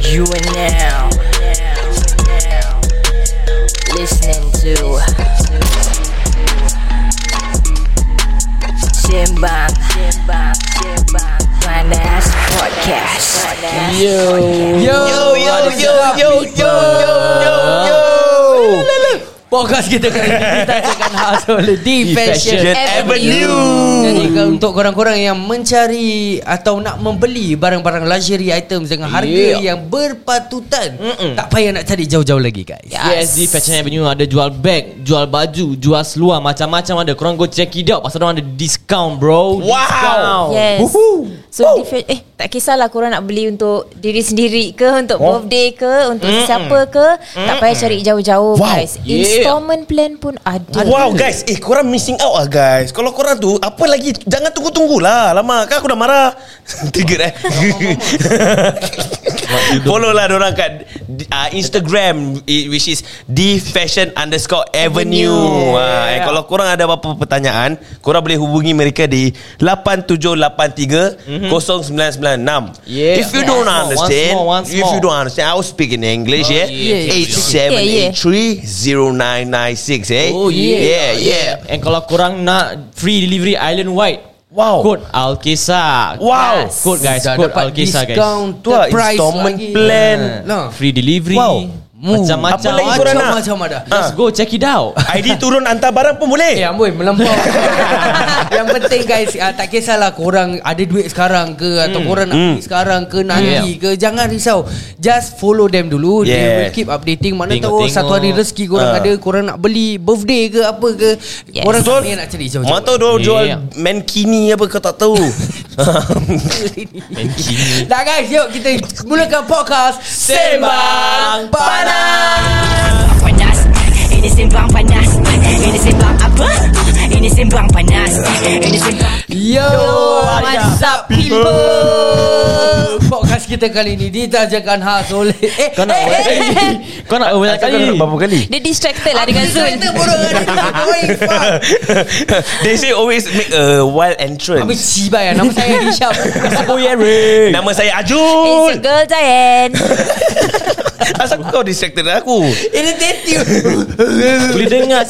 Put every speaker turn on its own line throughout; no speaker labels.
You are now listening to Simbang Panas Podcast.
Yo.
Yo yo yo yo yo yo yo.
Podcast kita kali ini ditajakan khas oleh D Fashion
Fashion
Jadi
Avenue.
ke- untuk korang-korang yang mencari atau nak membeli barang-barang luxury items dengan harga
Yeah.
yang berpatutan,
Mm-mm.
tak payah nak cari jauh-jauh lagi guys.
Yes, di Fashion Avenue ada jual bag, jual baju, jual seluar, macam-macam ada. Korang go check it out pasal orang ada discount, bro. Discount.
Yes So oh. eh tak kisahlah korang nak beli untuk diri sendiri ke untuk oh. birthday ke untuk mm siapa ke tak payah cari jauh-jauh
Wow.
guys.
Yeah.
Installment plan pun ada.
Wow guys Eh korang missing out lah guys Kalau korang tu Apa lagi Jangan tunggu-tunggulah Lama kan aku dah marah Trigger eh Follow lah dorang kat uh, Instagram eh, Which is The Fashion underscore Avenue Ah, eh, Kalau korang ada apa-apa pertanyaan Korang boleh hubungi mereka di 8783 0996
Yeah.
If you don't
Once more,
understand
once more, once
If you
more. Oh,
don't understand I will speak in English eh. yeah,
yeah.
87830996 eh
Oh yeah.
Yeah yeah
And kalau korang nak free delivery island wide.
Wow.
Code Alkisa.
Wow.
Yes. Code guys,
Dah
code
dapat
Alkisa guys.
discount
Tu lah,
price
installment
lagi.
plan.
Nah.
Free delivery.
Wow.
Macam-macam.
Apa lagi korang nak?
Macam-macam ada.
Just go check it out.
ID turun hantar barang pun boleh
Eh amboi melampau Yang penting guys uh, Tak kisahlah korang ada duit sekarang ke Atau
Hmm.
korang nak pergi sekarang ke Nanti ke Jangan risau Just follow them dulu They
Yes.
will keep updating Mana tahu
Tengok-tengok.
satu hari rezeki korang
Ah.
ada Korang nak beli birthday ke apa ke
Yes.
Korang tak
Betul?
payah nak cari
Mana
jauh-jauh
tahu dia jual
Yeah.
mankini apa kau tak tahu
Dah guys yuk kita mulakan podcast
Sembang
Panas
panas Ini sembang panas Ini sembang apa? Ini sembang panas Ini sembang
Yo, what's up people? Podcast kita kali ini ditajakan khas oleh eh, eh,
Kau nak Kau nak berapa kali?
kali?
Dia distracted lah dengan Zul.
Kita bodoh ada Oi, fuck.
They say always make a wild
Habis
entrance
cibai lah Nama saya Hisham
Nama saya
It's a
Ajul
girl giant.
Asal kau distracted dengan aku
Irritative
Boleh dengar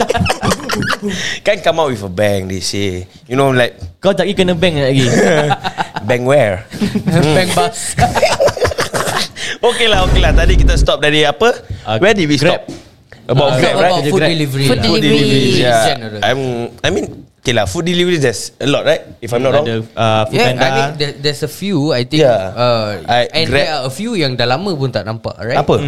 Kan come out with a bang They say You know like
Kau tak pergi kena bank lagi
Bang where
Bang bus
Okay lah okay lah Tadi kita stop dari apa
Uh,
Where did we
Grab.
stop About Grab right
Uh, About food delivery
Food
lah.
delivery.
Yeah.
Yeah. I'm, I mean, okay lah, food delivery there's a lot, right? If I'm not wrong.
Ada uh, food
Yeah, I
panda
mean there, there's a few I think
Yeah.
uh,
I-
And
Grab-
there are a few yang dah lama pun tak nampak right?
Apa?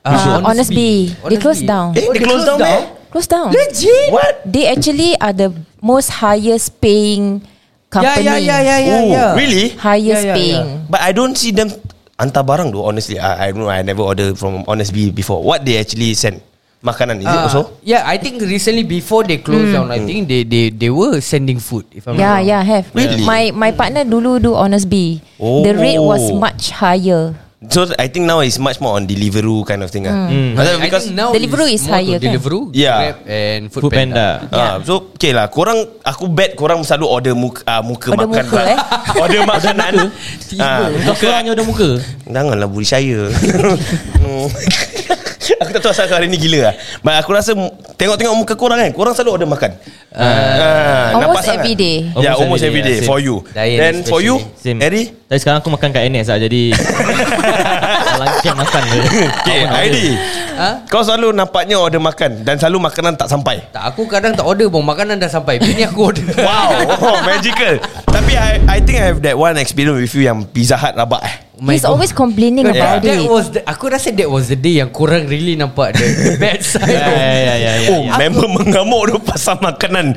Ah, Honest Bee. They close down.
Eh, they close down, eh?
Close down.
Legit
What?
They actually are the most highest paying
Ya
company.
ya ya ya ya
oh,
ya.
really?
Highest
Ya, ya, ya.
paying.
But I don't see them hantar barang though. Honestly, I, I don't know. I never order from Honest Bee before. What they actually send? Makanan is it
Ah,
also?
Yeah, I think recently before they close down, I think they they they were sending food. If
Hmm.
I'm
Yeah,
not wrong.
yeah, Ya, have.
Really?
My my partner dulu do honest B.
Oh.
The rate was much higher.
So I think now it's much more on Deliveroo kind of thing. ah. Pasal
Hmm. I
Because
think now
Deliveroo is
more to
higher, kan?
Deliveroo,
Yeah.
Grab and food,
Food panda
Ah, so okay lah Korang Aku bet korang selalu order muka, ah, muka
Order
makan
muka,
lah.
eh?
Order makanan
Tiba.
Ah,
Kau korang ada muka
Janganlah budi saya Hmm. Aku tak tahu asal kau hari ni gila lah But aku rasa mu- Tengok-tengok muka korang kan Korang selalu order makan uh,
almost every day.
Yeah Ya,
Almost
almost,
every
every
day,
day
yeah,
For
same.
you
Diet
Then for you
Same
Eddie
Tapi sekarang aku makan kat NS lah Jadi Dalam camp makan je
Okay
Kau pun
Eddie
Ha?
Kau selalu nampaknya order makan Dan selalu makanan tak sampai
Tak aku kadang tak order pun Makanan dah sampai Bini aku order
Wow oh, Magical Tapi I I think I have that one experience with you Yang Pizza Hut rabak eh
Oh my
He's
God.
always complaining
That-
about
That
it.
was the, Aku rasa that was the day Yang korang really nampak The bad side
Ya, ya, ya, ya, ya.
Oh member mengamuk tu Pasal makanan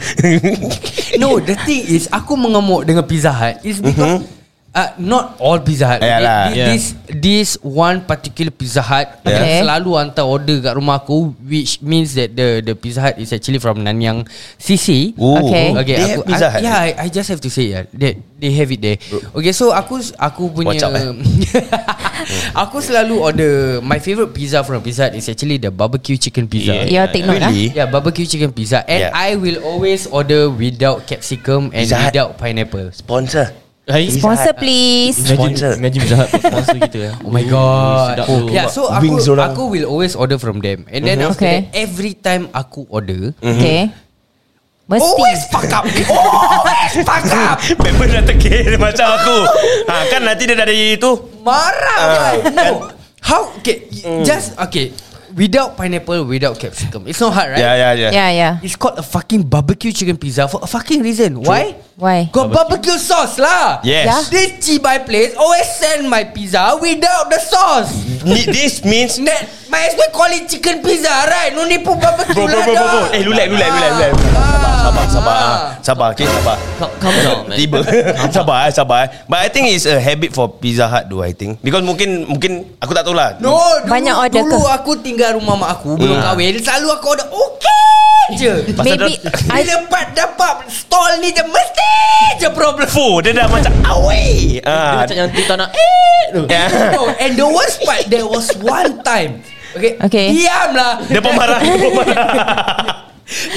No the thing is Aku mengamuk dengan Pizza Hut Is because
Mhm.
uh, Not all Pizza Hut
Yalah.
Thi- This This one particular Pizza Hut
Yeah.
Yang
Okay.
selalu hantar order kat rumah aku Which means that The the Pizza Hut is actually from Nanyang CC
Oh,
Okay.
Okay,
They
aku,
have Pizza
I,
Hut
Yeah, I, I just have to say yeah, that they have it there. Okay, so aku aku punya
Watch out, eh.
aku selalu order my favorite pizza from Pizza Hut is actually the barbecue chicken pizza.
Yeah, take note ah.
Really?
Yeah, Ya, barbecue chicken pizza and
Yeah.
I will always order without capsicum and
Pizza Hut.
without pineapple.
Sponsor
Hai
Sponsor please
Sponsor.
Imagine, imagine Pizza Hut sponsor kita ya.
Oh my god.
sedap tu.
yeah, Ya, so aku
Wings orang.
aku will always order from them. And then after
Okay.
that, every time aku order,
Okay Mesti
Mm-hmm. always fuck up. Always fuck up.
Member dah terkira macam aku ha, Kan nanti dia dari itu
Marah
Ah,
uh, No
kan?
How Okay mm. Just Okay Without pineapple Without capsicum It's not hard right
Ya ya ya
Yeah yeah
It's called a fucking barbecue chicken pizza For a fucking reason Why?
Why?
Got barbecue, sauce lah
Yes
Yeah.
This cibai place Always send my pizza Without the sauce
Ni- This means
That Might as well call it chicken pizza right No need put barbecue
Bro bro
lah
bro bro, bro.
dah.
Eh lulek lulek lulek lulek
Ah.
Sabar sabar
Ah.
ah. Sabar okay sabar
Calm down man
Tiba Sabar eh sabar eh But I think it's a habit for Pizza Hut do I think Because mungkin Mungkin Aku tak tahu lah
No dulu,
Banyak order
Dulu
ke?
aku tinggal rumah mak aku Belum
Hmm.
kahwin Selalu aku order Okay je
Pasal
Maybe
dia-
I
Bila part dapat Stall ni je Mesti je problem
Fuh Oh, Dia dah macam Away
Dia
ah.
macam yang tu tak nak Eh tu.
Yeah.
No, and the worst part, there was one time. Okay.
Okay.
Diamlah.
Dia pemarah Dia pemarah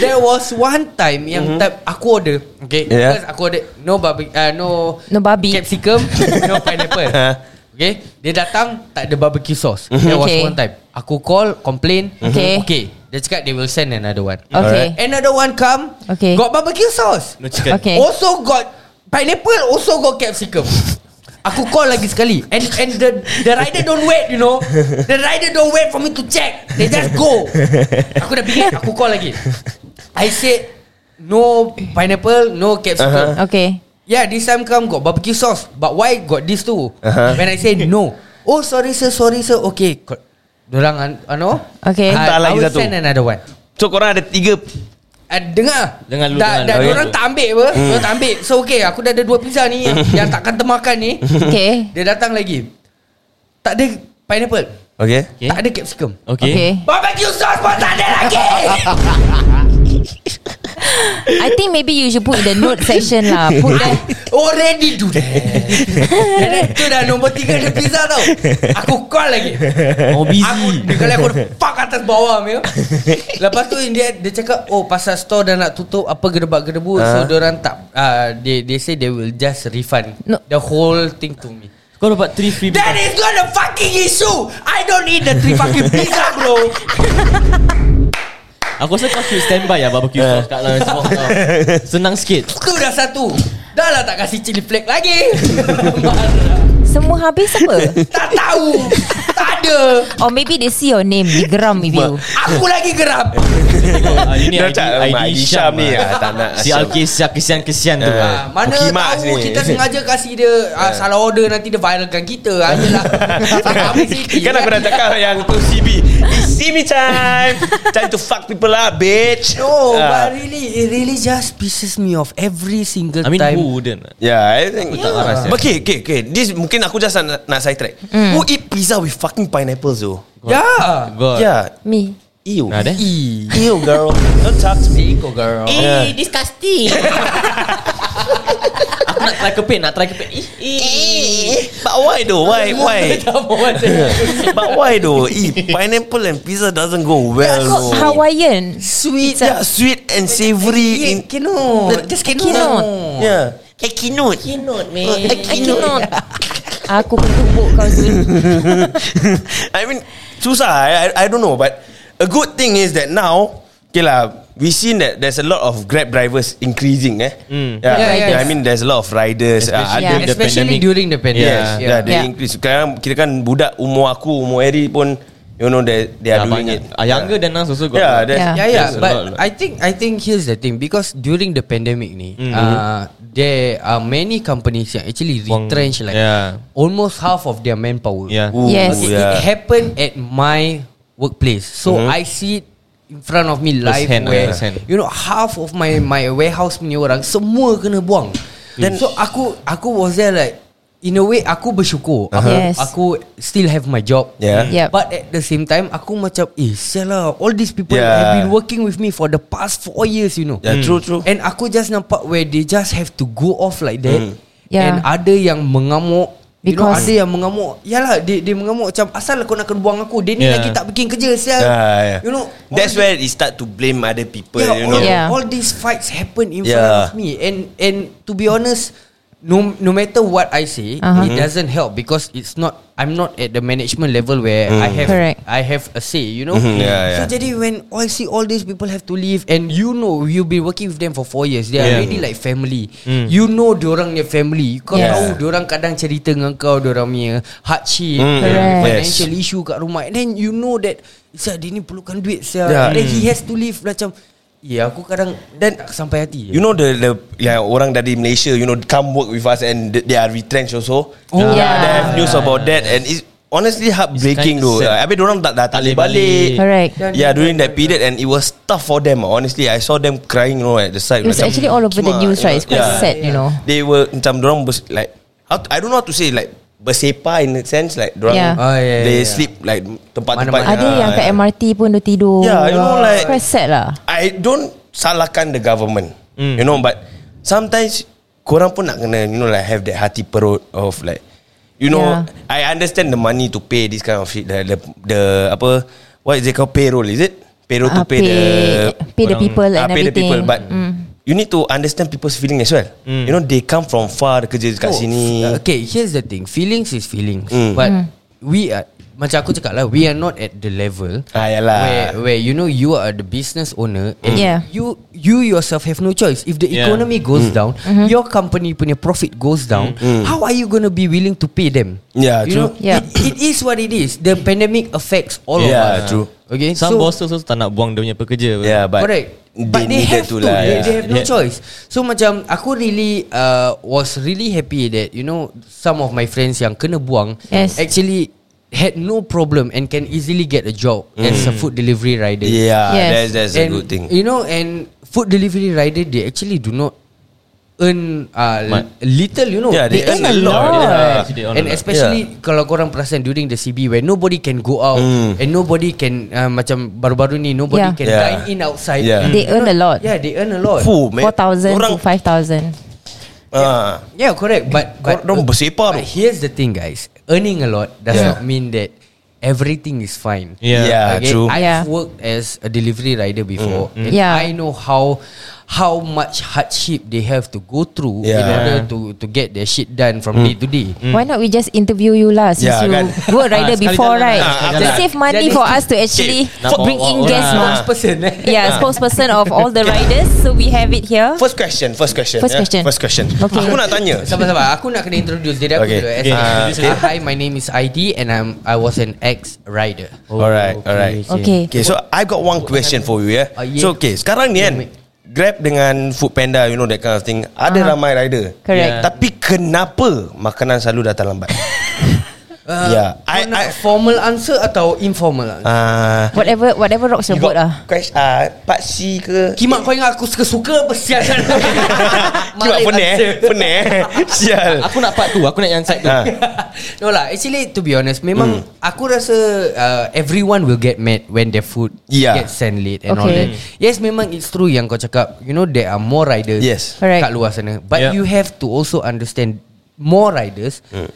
There was one time yang mm-hmm. time aku order.
Mhm.
Okay.
Yeah.
Because aku order no barbecue, uh, no
No babi.
capsicum, no pineapple.
Huh.
okay. Dia datang tak ada barbecue sauce.
Mhm.
There was
Okay.
one time. Aku call, complain.
Okay.
Okay. Dia cakap they will send another one.
Okay
Another one come.
Okay.
Got barbecue sauce.
No chicken
Okay.
Also got pineapple, also got capsicum. Aku call lagi sekali And and the the rider don't wait you know The rider don't wait for me to check They just go Aku dah fikir Aku call lagi I said No pineapple No capsicum uh-huh.
Okay
Yeah this time come got barbecue sauce But why got this too uh-huh. When I say no Oh sorry sir sorry sir Okay co- Dorang ano
Okay.
I,
Hantar
I
lagi
will
satu.
send another one
So korang ada tiga
Uh, dengar
Dengar dulu, dengar
Dah, dah
dulu.
orang tak ambil apa hmm. Diorang tak ambil So okay Aku dah ada dua pizza ni Yang, yang takkan termakan ni
Hmm. Okay
Dia datang lagi Tak ada pineapple
Okay
okay. Tak ada capsicum
Okay, okay.
Okay
Barbecue sauce pun tak ada lagi
I think maybe you should put in the note section
Ah,
lah Put
kan?
there
Already do that And then, Itu dah nombor tiga ada pizza tau Aku call lagi
Oh
Aku
busy
Dia kali aku Fuck atas bawah punya. Lepas tu dia dia cakap Oh pasal store dah nak tutup Apa gedebak-gedebu uh. So
Ah.
diorang tak uh, they, they say they will just refund
No.
no. The whole thing to me
Kau dapat 3 free
That is not a fucking issue I don't need the three fucking pizza bro
Aku rasa kau should standby lah
Eh.
Barbecue sauce kat dalam semua kau Senang sikit
Tu dah satu Dah lah tak kasih chili flake lagi
Semua habis apa?
Tak tahu Tak ada
Or maybe they see your name They geram with you
Aku lagi geram
Ah, Ini
Dia macam "Oh,
ID,
Mak
ID
Adi Syam
Syam
ni
lah.
ah, Tak nak
Si
Syam.
Al-Kisah Kesian-kesian tu
Ah.
Ah, Mana
Mukimak
tahu
sini. Eh.
kita sengaja kasih dia ah, Salah order nanti dia viralkan kita Ah, Ayolah
Kan
eh.
aku dah cakap yang tu CB It's CB time Time to fuck people up bitch
No
Ah.
but really It really just pisses me off Every single
I mean
time
who wouldn't
Yeah I think
tak
yeah.
waras, ya.
But Okay okay okay This mungkin aku just nak, nak sidetrack
Mm.
Who eat pizza with fucking pineapples though
Ya. Yeah
God yeah.
Yeah
Me
Ew
Nah, there.
Ew girl Don't talk to me
Iko girl
Yeah.
disgusting.
Aku nak try kepin Nak try kepin Ih,
Eh, But why though Why
Eh,
why But why though Eh, Pineapple and pizza doesn't go well though.
Hawaiian
Sweet yeah, Sweet and savory in,
Yeah, cannot Just cannot,
Cannot.
Yeah Eh kinut Kinut man Eh
I cannot Aku pun tumbuk kau Zul
I mean Susah I, I, I don't know But A good thing is that now Okay lah We seen that There's a lot of Grab drivers Increasing eh
Mm.
yeah,
Yeah,
yeah,
yeah.
I mean there's a lot of riders
Especially
uh,
Yeah.
yeah.
the
Especially
pandemic.
during the pandemic
Yes yeah. yeah, they
Yeah.
increase Sekarang kita kan Budak umur aku Umur Eri pun You know they, they are doing it
Ah, Younger than us also got
Yeah, that's,
Yeah.
Yeah, yeah.
There's a lot,
But
lah.
I think I think here's the thing because during the pandemic ni,
Mm-hmm.
uh, there are many companies yang actually
Buang- Ya.
retrench like
Yeah.
almost half of their manpower.
Yeah.
Ooh,
Yes.
Okay,
yeah. Mm-hmm.
It happened at my workplace, so I see it in front of me live
Firsthand,
where
yeah, firsthand.
you know half of my my warehouse punya orang semua kena buang. Then so aku aku was there like in a way aku bersyukur. Aku,
Yes.
aku still have my job.
Uh-huh. Yeah.
Yep.
But at the same time Aku macam Eh sial lah All these people
Yeah.
Have been working with me For the past 4 years you know Hmm.
Yeah, Mm. true, true.
And aku just nampak Where they just have to go off like
Hmm.
that
Yeah.
And ada yang mengamuk You know
Because-
ada yang mengamuk Yalah dia, dia mengamuk macam Asal kau nak kena buang aku Dia ni
Yeah.
lagi tak bikin kerja
Yeah,
sial
yeah.
You know
That's
all
where it start to blame other people.
yeah,
you know.
all,
Yeah.
all these fights happen in
Yeah.
front of me and and to be honest no no matter what I say,
Uh-huh.
Mm-hmm.
it doesn't help because it's not. I'm not at the management level where I have
Correct.
I have a say. You know.
Mhm, Mm. yeah, yeah.
So jadi when I see all these people have to leave and you know you've been working with them for four years, they are
Yeah. Mm.
already like family. You know diorang ni family. Kau
Yes.
tahu diorang kadang cerita dengan kau diorang punya hardship,
Mm,
Correct.
financial issue kat rumah. And then you know that Isa dia ni perlukan duit Isa.
Yeah.
And then he has to leave macam Ya yeah, aku kadang dan tak sampai hati. je.
You know the the yeah, orang dari Malaysia you know come work with us and th- they are retrenched also.
Oh.
Uh,
Yeah.
They have news about that and it's honestly heartbreaking
It's
though.
kinda sad.
Uh, Habis orang tak dah tak boleh balik.
Correct.
Yeah, during that period and it was tough for them. Honestly, I saw them crying you know at the side.
It was
macam,
actually all over the
"Kimak,"
news,
you know.
right? It's quite sad, you know.
They were macam orang bers, like how to- I don't know how to say like bersepa in a sense like orang
Yeah.
Oh, yeah,
they
yeah.
sleep like tempat-tempat.
Mana-mana.
Ada
Ah,
yang kat MRT pun dia tidur.
Yeah, you know, like-
It's quite sad lah.
I don't salahkan the government. You know but sometimes korang pun nak kena you know like have that hati perut of like you know
Yeah.
I understand the money to pay this kind of shit the the, the apa what is it called payroll is it payroll to
Ah,
pay, the
pay the people and
Ah, pay the
everything.
people but you need to understand people's feeling as well. You know they come from far kerja kat
Oh,
sini. Hmm.
uh, Okay here's the thing Feelings is feelings But
Hmm.
We are Macam aku cakap lah We are not at the level
Ah, yalah.
Where, where you know You are the business owner And
Hmm. Yeah.
you You yourself have no choice If the
Yeah.
economy
Hmm.
goes down
Mm-hmm.
Your company punya profit goes down How are you going to be willing to pay them
Yeah,
You
true.
know
Yeah.
it, it is what it is The pandemic affects all of us
Yeah, true.
Okay
Some
Eh, so-
bosses also tak nak buang dia punya pekerja.
Yeah, but
Correct. But they,
needed
have to,
lah,
they,
yeah.
they have no
Yeah.
choice. So macam aku really uh, was really happy that you know some of my friends yang kena buang
Yes.
actually had no problem and can easily get a job as a food delivery rider.
Mm. Yeah,
Yes.
that's that's
and
a good thing.
You know, and food delivery rider they actually do not earn uh,
Much.
little. You know,
Yeah, they earn a lot. Yeah.
Actually, they earn
And
a lot.
especially yeah. kalau korang perasan during the CB where nobody can go out and nobody can uh, macam baru-baru ni nobody
Yeah.
can
Mm. Yeah.
dine in outside.
Yeah.
Mm. They earn a lot.
Yeah, they earn a lot.
Fuh, man.
4,000
Orang
to 5,000.
Ah,
Yeah, correct. But but,
Korang bersepah
but
tu.
here's the thing, guys. Earning a lot does
Yeah.
not mean that everything is fine.
Yeah.
Yeah. Ya, true. Mm,
I've
Yeah.
worked as a delivery rider before. and
Yeah.
I know how how much hardship they have to go through in
Yeah. Mm.
order to to get their shit done from day to day.
Why not we just interview you lah Since
Yeah,
you
kan?
were
Ah,
rider
sekali
before
jalan
right
lah, sekali
To
jalan.
save money
Jadi-
for us to actually
Nak bawa
Bring in
orang.
guests
lah.
mah
Spokesperson, eh?
Yeah spokesperson of all the riders So we have it here
first question, first question.
First
yeah.
question.
First question.
Okay.
Aku nak tanya.
Sabar-sabar Aku nak kena introduce diri aku
Okay.
dulu as
Okay.
a-
Ah, okay.
Hi my name is ID And I'm I was an ex-rider
alright, alright.
Okay
Okay, so I got one question for you, yeah.
Ah, yeah.
So okay, sekarang ni kan Grab dengan Foodpanda, you know that kind of thing. Ada
Ah.
ramai rider. Yeah.
Correct.
Tapi kenapa makanan selalu datang lambat?
Uh,
Yeah. I-
I, nak
I-
formal answer atau informal answer?
Ah,
Uh,
Whatever whatever rocks your
you
boat
got
lah
Question, ah, Pak C ke?
Kimak kau ingat aku suka-suka apa sial
Kimak pening eh Pening eh Sial
Aku nak part tu Aku nak yang side tu
Ah. Hmm.
No lah Actually to be honest Memang aku rasa uh, Everyone will get mad When their food
Yeah.
Gets sent late
Okay.
And all that Yes memang it's true Yang kau cakap You know there are more riders
Yes.
Correct.
Kat luar sana But
Yeah.
you have to also understand More riders
Hmm.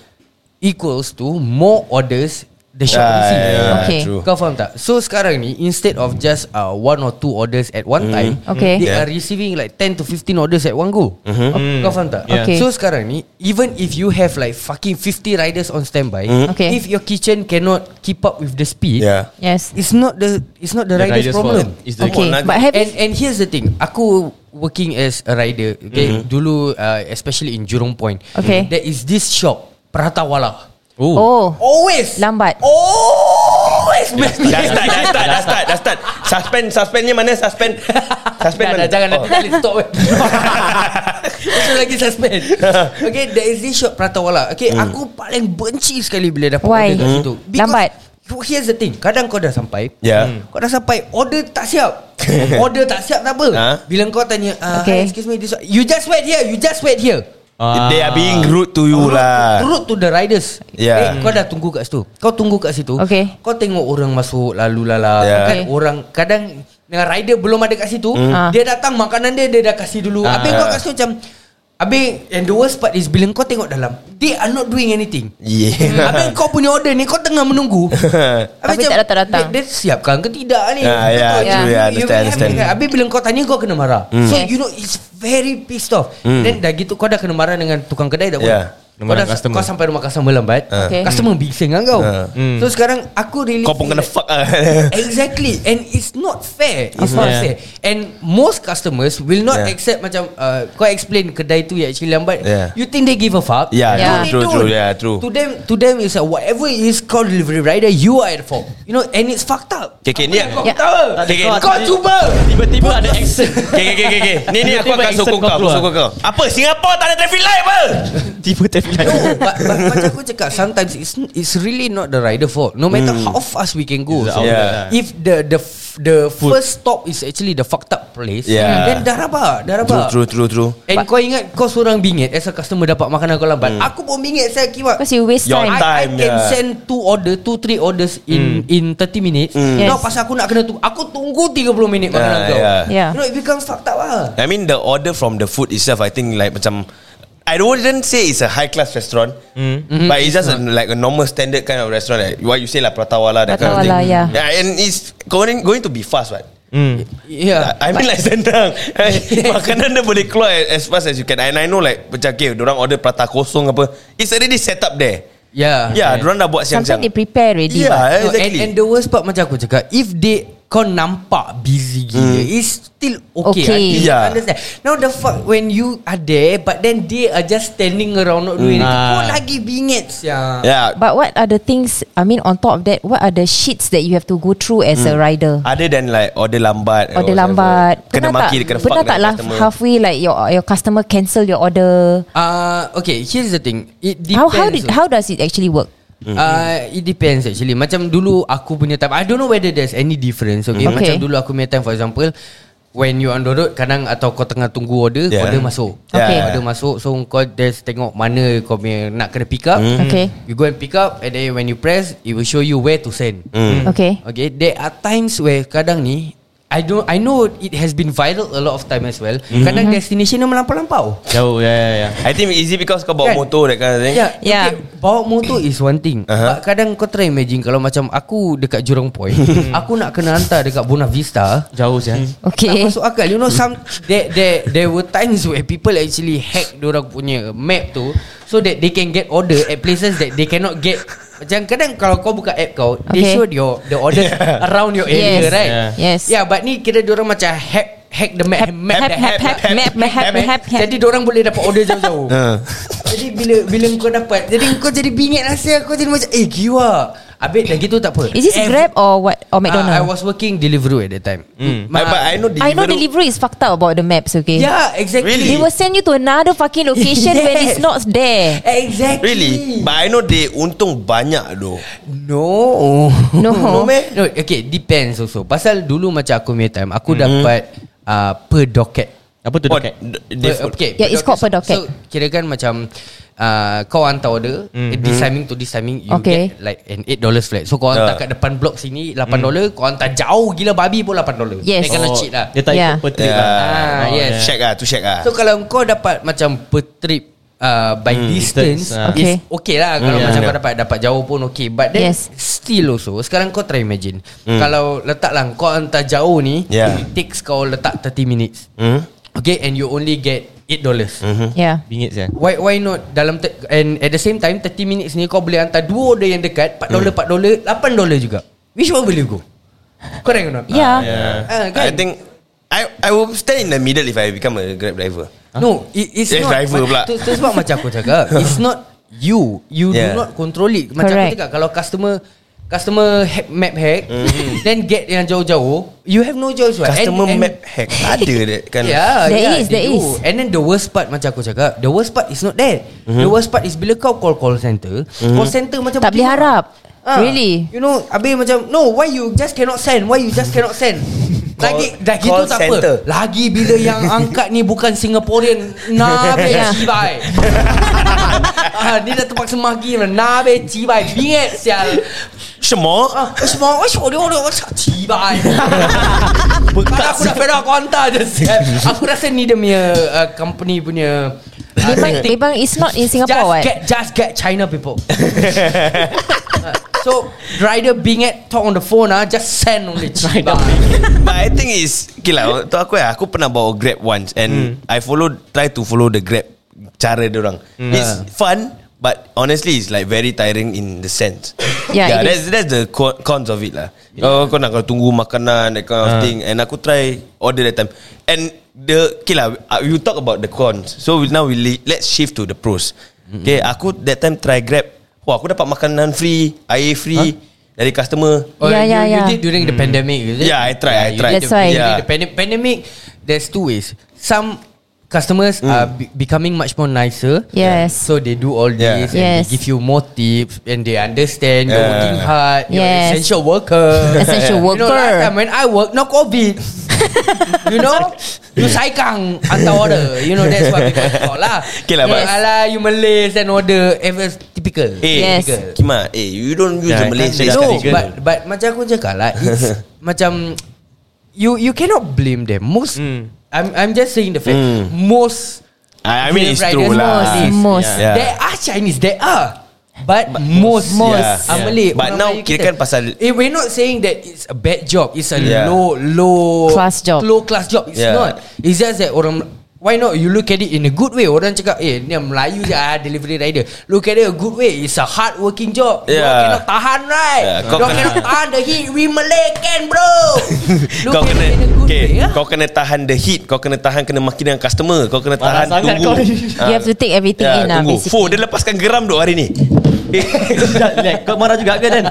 Equals to More orders The shop
Ah,
receive
yeah,
Okay.
true.
Kau faham tak? So sekarang ni instead of just uh, one or two orders at one time,
Okay.
they
Hmm. Yeah.
are receiving like 10 to 15 orders at one go. Mm-hmm. Kau faham tak?
Yeah. Okay.
So sekarang ni even if you have like fucking 50 riders on standby,
Okay.
if your kitchen cannot keep up with the speed,
Mm-hmm. Yeah
Yes
it's not the it's not the,
The
rider's,
rider's
problem.
fault. It's the-
Okay
Come on,
But
Naga.
have
And and here's the thing Aku working as a rider okay,
Mm-hmm.
Dulu uh, Especially in Jurong Point
Okay.
There is this shop Prata Wala
Oh
Always
Lambat
Always messed
Dah start Dah start Dah start Dah start Suspend Suspend ni mana Suspend Suspend
Dah,
mana
dah, jangan nanti tak boleh stop eh. Itu lagi suspend Okay there is this shop Prata Wala Okay hmm. aku paling benci sekali Bila dapat
Why?
order kat
Hmm.
situ
Lambat.
Because Here's the thing Kadang kau dah sampai
Yeah.
Hmm. Kau dah sampai Order tak siap Order tak siap tak apa
Ha?
Bila kau tanya uh,
Okay.
okay. Excuse me this one. You just wait here You just wait here
Ah.
They are being rude to you lah
Turut to the riders
Yeah.
eh, Kau dah tunggu kat situ Kau tunggu kat situ
Okay.
Kau tengok orang masuk Lalu lala
Yeah.
Kan
Okay.
orang Kadang Dengan rider belum ada kat situ
Ah.
Dia datang makanan dia Dia dah kasih dulu
Ah.
Habis kau kat situ macam Habis And the worst part is Bila kau tengok dalam They are not doing anything
Yeah.
Habis kau punya order ni Kau tengah menunggu
Tapi tak datang-datang.
Dia, dia siapkan ke tidak ni
Ah, ya,
Betul.
true,
ya,
You- you
understand,
can
understand. Hmm.
have it. Habis bila kau tanya Kau kena marah So
Yes.
you know It's very pissed off Then dah gitu Kau dah kena marah Dengan tukang kedai dah
Yeah.
boleh kau,
Marah
dah,
customer.
kau sampai rumah customer lambat
Okay.
Customer bising kan kau
Ah.
So sekarang Aku really
Ha. Kau pun
feel
kena
like-
fuck lah.
Exactly And it's not fair It's
Of
not
course.
fair And most customers Will not
Yeah.
accept macam uh, Kau explain kedai tu yang actually lambat
Yeah.
You think they give a fuck
Yeah,
Yeah.
They
true, true,
don't.
true. Yeah, true.
To them To them is like Whatever is called delivery rider You are at fault You know And it's fucked up
Okay, okay, ni
Kau
aku.
Yeah.
ketawa
Tak ada
Okay,
kau-
Kau cuba
Tiba-tiba ada action
Okay, okay, okay, okay. Ni, ni aku
Tiba-tiba
akan
accent
sokong
kau
kau. Aku
keluar.
sokong kau. Apa? Singapura tak ada traffic light apa?
Tiba traffic
No,
light
but, but macam aku cakap Sometimes it's, it's really not the rider fault No matter how fast we can go
It's
so
Hmm. yeah.
If the the f- the first stop Is actually the fucked up place
Yeah.
Then dah rabak Dah rabak
True, true, true, true.
And kau ingat kau seorang bingit As a customer dapat makanan kau lambat
Hmm.
Aku pun bingit saya kiwak
Because you waste
Your time.
time
I, I can
yeah. Hmm.
send two order Two three orders In in 30 minutes
Yes.
Now pasal aku nak kena tu Aku tunggu 30 minit makanan
Yeah,
kau
yeah.
Yeah.
You know it becomes fucked up lah
I mean the order from the food itself I think like macam I wouldn't say it's a high class restaurant mm.
Mm-hmm.
But it's just a, like a normal standard kind of restaurant like What you say lah Prata Wala That kind of
Prata
thing
Wala, yeah.
yeah And it's going, going to be fast right
Yeah
Hmm. I mean like sendang Makanan dia boleh keluar As fast as you can And I know like Macam okay Diorang order prata kosong apa It's already set up there
Yeah
Yeah diorang dah buat
Sometimes
siang-siang
they prepare already
Yeah.
yeah.
Ah,
No,
exactly.
and, and the worst part macam aku cakap If they Kau nampak busy gila It's still okay,
Okay.
I
Hmm. Yeah.
yeah. understand Now the fuck When you are there But then they are just standing around Not doing
Mm.
anything Kau
Ah.
lagi bingit yeah.
Hmm. Yeah
But what are the things I mean on top of that What are the shits that you have to go through As a rider
Other than like order lambat or
Order
whatever.
lambat
Kena
Pernah
maki
tak,
Kena fuck
Pernah tak
dengan
lah
customer.
halfway Like your your customer cancel your order
Uh, okay, here's the thing. It depends.
How how did how does it actually work
Uh, it depends actually. Macam dulu aku punya time. I don't know whether there's any difference. Okay,
Mm.
okay. macam
Okay.
dulu aku punya time for example. When you on the road Kadang atau kau tengah tunggu order
Yeah.
yeah. Order masuk
Okay.
Order masuk So kau just tengok Mana kau punya Nak kena pick up
Mm. Okay.
You go and pick up And then when you press It will show you where to send
Hmm. Okay
Okay, there are times where kadang ni I don't I know it has been viral a lot of time as well. Mm-hmm. Kadang
Hmm.
destination dia melampau-lampau.
Jauh ya ya ya
I think easy because kau bawa
Kan?
motor that kind of thing.
Yeah,
Yeah.
yeah. Okay, bawa motor is one thing.
eh? Aha.
Uh-huh. Kadang kau try imagine kalau macam aku dekat Jurong Point, aku nak kena hantar dekat Buona Vista.
Jauh ya. sih
Hmm.
Tak
Okay
masuk akal You know some there, there, there were times Where people actually Hack orang punya Map tu So that they can get order At places that They cannot get Macam kadang Kalau kau buka app kau okay. They
Okay.
show your The orders Around your area
Yes.
right
Yeah. Yes.
Yeah but ni Kira orang macam Hack Hack the map Map
Hap
the
hap hap Map map hap hap hap
Jadi orang boleh dapat order jauh-jauh
Uh.
Jadi bila bila kau dapat Jadi kau jadi bingit rasa Kau jadi macam Eh giwa Habis dah gitu tak apa
Is this
Every-
Grab or what Or
Ah, I
McDonald's
was working Deliveroo at that time
I,
mm.
Hmm. but I know
I know
Deliveroo-
Deliveroo is fucked up about the maps okay
Yeah, exactly.
Really?
They will send you to another fucking location yes. when it's not there.
Exactly.
Really? But I know they untung banyak though.
No.
No.
no man. No, okay, depends also. Pasal dulu macam aku punya time, aku mm-hmm. dapat uh, per docket.
Apa tu
Oh,
dekat
d-
Per,
they-
okay,
Yeah, it's called per docket.
So, kira kan macam uh, kau hantar order, mm-hmm. this timing to this timing, you
Okay.
get like an $8 flat. So, kau
Ah.
hantar kat depan blok sini, $8. Kau hantar jauh gila babi pun $8.
Yes.
Dia kena
Oh,
cheat lah.
Dia tak
Yeah.
ikut per trip
Yeah.
lah
Ah, yes.
Yeah. Check ah, tu check ah.
So kalau kau dapat macam per trip uh, by mm,
distance,
distance,
ah.
Okay.
okay. is okay lah kalau
Hmm,
macam
yeah.
kau dapat dapat jauh pun okay. But then
Yes.
yes. still also sekarang kau try imagine kalau letaklah kau hantar jauh ni,
Hmm. Yeah.
it takes kau letak 30 minutes.
Hmm? Mm-hmm.
Okay and you only get 8 dollars.
Yeah.
Bingit sih
Why why not dalam te- and at the same time 30 minutes ni kau boleh hantar dua order yang dekat 4
Hmm.
dollar 4 dollar 8 dollar juga. Which one will you go? Correct or not?
Yeah.
Ya.
Ah, kan?
I think I I will stand in the middle if I become a Grab driver.
No, it, it's
Yes,
not.
driver pula.
Tu, tu sebab macam aku cakap, it's not you. You
Yeah.
yeah. do not control it. Macam
Correct.
aku cakap, kalau customer customer hack, map hack, mm-hmm. then get yang jauh-jauh, you have no choice. Right?
Customer map hack ada kan? that kind of.
Yeah,
There
yeah,
is,
they
there
do.
is.
And then the worst part macam aku cakap, the worst part is not that. Mm-hmm. The worst part is bila kau call call center, mm-hmm. call center macam
Tak boleh
berkibar.
harap.
Ah,
Really?
You know, habis macam no, why you just cannot send? Why you just cannot send? Lagi
Call-
dah gitu
call
tak
center.
apa. Lagi bila yang angkat ni bukan Singaporean, nabe
Ya.
Yeah.
cibai. ah, dia dah terpaksa maki nabe cibai. Bingat sial.
Semua
Ah, semua orang suruh dia orang macam cibai. Bekas aku dah fed up kau hantar je sial. Aku rasa ni dia punya uh, company punya
Lebang, Lebang is not in Singapore
just
what?
get just get China people. Uh, so rider being at talk on the phone ah, just send on the cheap. ah.
But I think is Okay lah Untuk aku lah Aku pernah bawa Grab once And I follow Try to follow the Grab Cara dia orang It's fun But honestly It's like very tiring In the sense
Yeah, it
that's, that's the co- cons of it lah Oh kau nak kena tunggu makanan That kind of thing And aku try Order that time And the Okay lah uh, You talk about the cons So we- now we li- Let's shift to the pros Okay Aku that time try Grab Wah aku dapat makanan free Air free Dari customer
Or
Yeah,
you,
yeah,
you
yeah.
did during the pandemic, is it?
Yeah, I tried, I
you
tried.
did
That's why.
you did
Yeah.
The pandi- pandemic, there's two ways. Some customers
Hmm.
are be- becoming much more nicer.
Yes.
So they do all
Yeah.
this and
Yes.
they give you more tips and they understand you're
Yeah.
working hard, you're
Yes.
essential worker.
Essential
You know, last
worker.
time when I work, no COVID. you know? You saikang hantar order. You know, that's what people call lah.
Okay lah, but-
You know, Alah, you Malays and order. Eh, it's Typical.
Eh,
Yes.
Kima, eh, you don't use
Yeah,
the Malay
kan
phrase
dia
No,
sekali.
cakap
but, but macam aku cakap lah, it's macam you you cannot blame them. Most
Mm.
Hmm.
I'm I'm just saying the fact.
Mm.
Most
I, I mean, it's
Grab
true
riders,
lah.
Most, most.
Yeah.
there are Chinese, there are. But, most
most,
yeah. are
yeah.
Malay.
But
Orang
now
Melayu
kira
kita.
kan pasal-
eh, we're not saying that it's a bad job. It's a
Yeah.
low low
Class job.
Low class job. It's
Yeah.
not. It's just that orang Why not you look at it in a good way Orang cakap Eh ni Melayu je ah, Delivery rider Look at it a good way It's a hard working job You
Yeah.
cannot tahan right
Yeah,
yeah,
kau
Kau
kena-
cannot tahan the heat We Malay can bro Look
Kau
at
kena
it in a good
okay,
way ah.
Kau kena tahan the heat Kau kena tahan Kena maki dengan customer Kau kena
Marah
tahan
sangat
Tunggu Ha. Ya,
kau ni.
You have to take everything in lah
tunggu. Fuh,
basically.
dia lepaskan geram duk hari ni
Kau marah juga ke Dan?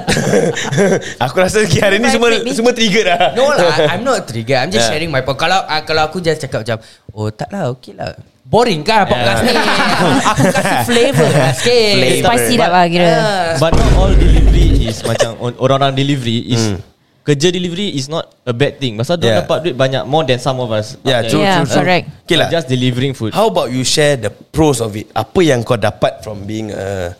Aku rasa okay, hari ni semua Semua trigger dah
No lah I'm not trigger I'm just
Yeah.
yeah. sharing my point Kalau uh, kalau aku just cakap macam Oh tak lah okay lah Boring kan podcast ni Aku kasih flavour lah sikit
Spicy dah lah kira.
Ah.
But not all delivery is macam on- orang-orang delivery is
Hmm.
kerja delivery is not a bad thing. Pasal dia
Yeah.
dapat duit banyak more than some of us.
Yeah, Ya. true,
Yeah,
true, true.
correct.
Okay lah
Just delivering food.
How about you share the pros of it Apa yang kau dapat From being a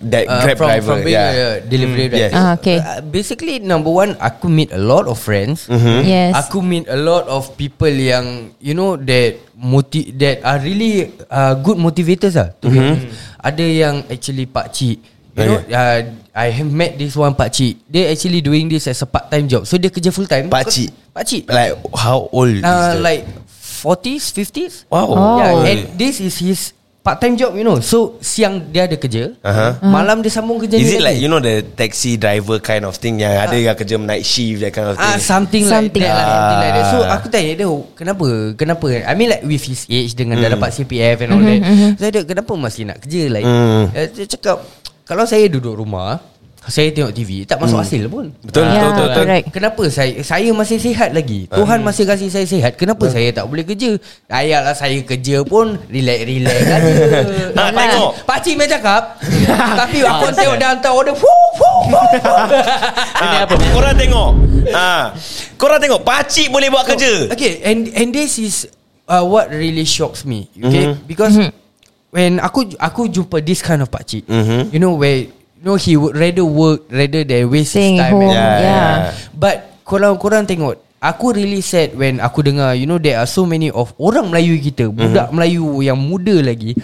That
Uh,
grab
from,
driver
from being
yeah.
a delivery
Mm, yes.
driver.
Ah, okay.
Uh, basically, number one, aku meet a lot of friends.
Mm-hmm.
Yes.
Aku meet a lot of people yang you know that moti that are really uh, good motivators lah. To be honest. Ada yang actually pak cik. You know, uh, I have met this one pak cik. Dia actually doing this as a part time job. So dia kerja full time.
Pakcik?
Pak cik.
Like how old is
Uh,
the-
like 40s, 50s.
Wow
Oh.
Yeah, and this is his part-time job, you know. So siang dia ada kerja,
Aha.
uh-huh. malam dia sambung kerja.
Is
ni
it
lagi.
like You know the taxi driver Kind of thing Yang ada yang kerja Night shift That kind of
Ah,
thing
something,
Something.
like that, lah, something like that. So
Ah.
aku tanya dia, "Oh, kenapa? Kenapa? I mean like with his age dengan
Hmm.
dah dapat CPF and all that. Saya dia kenapa masih nak kerja like?
Mm.
Eh, Dia cakap kalau saya duduk rumah, saya tengok TV tak
Hmm.
masuk hasil pun.
Betul,
Yeah,
betul, betul, betul.
correct.
Kenapa saya saya masih sihat lagi?
Ah.
Tuhan masih kasih saya sihat. Kenapa
Hmm.
saya tak boleh kerja? Ayalah saya kerja pun relax-relax aja.
Ah,
Yalah.
tengok.
Pak cik main cakap Tapi aku tengok dia hantar order fuh, fuh, fuh, fuh.
Ah, korang tengok. Ah, korang tengok pakcik boleh buat kerja.
Oh, Okay, and and this is uh, what really shocks me. Okay, mm-hmm. because mm-hmm. when aku aku jumpa this kind of pakcik, mm-hmm. you know where you know he would rather work rather than waste
Staying
his
Ya,
time.
home.
and-
Yeah, Oh, yeah.
But kalau korang tengok Aku really sad when aku dengar You know there are so many of Orang Melayu kita Budak Melayu yang muda lagi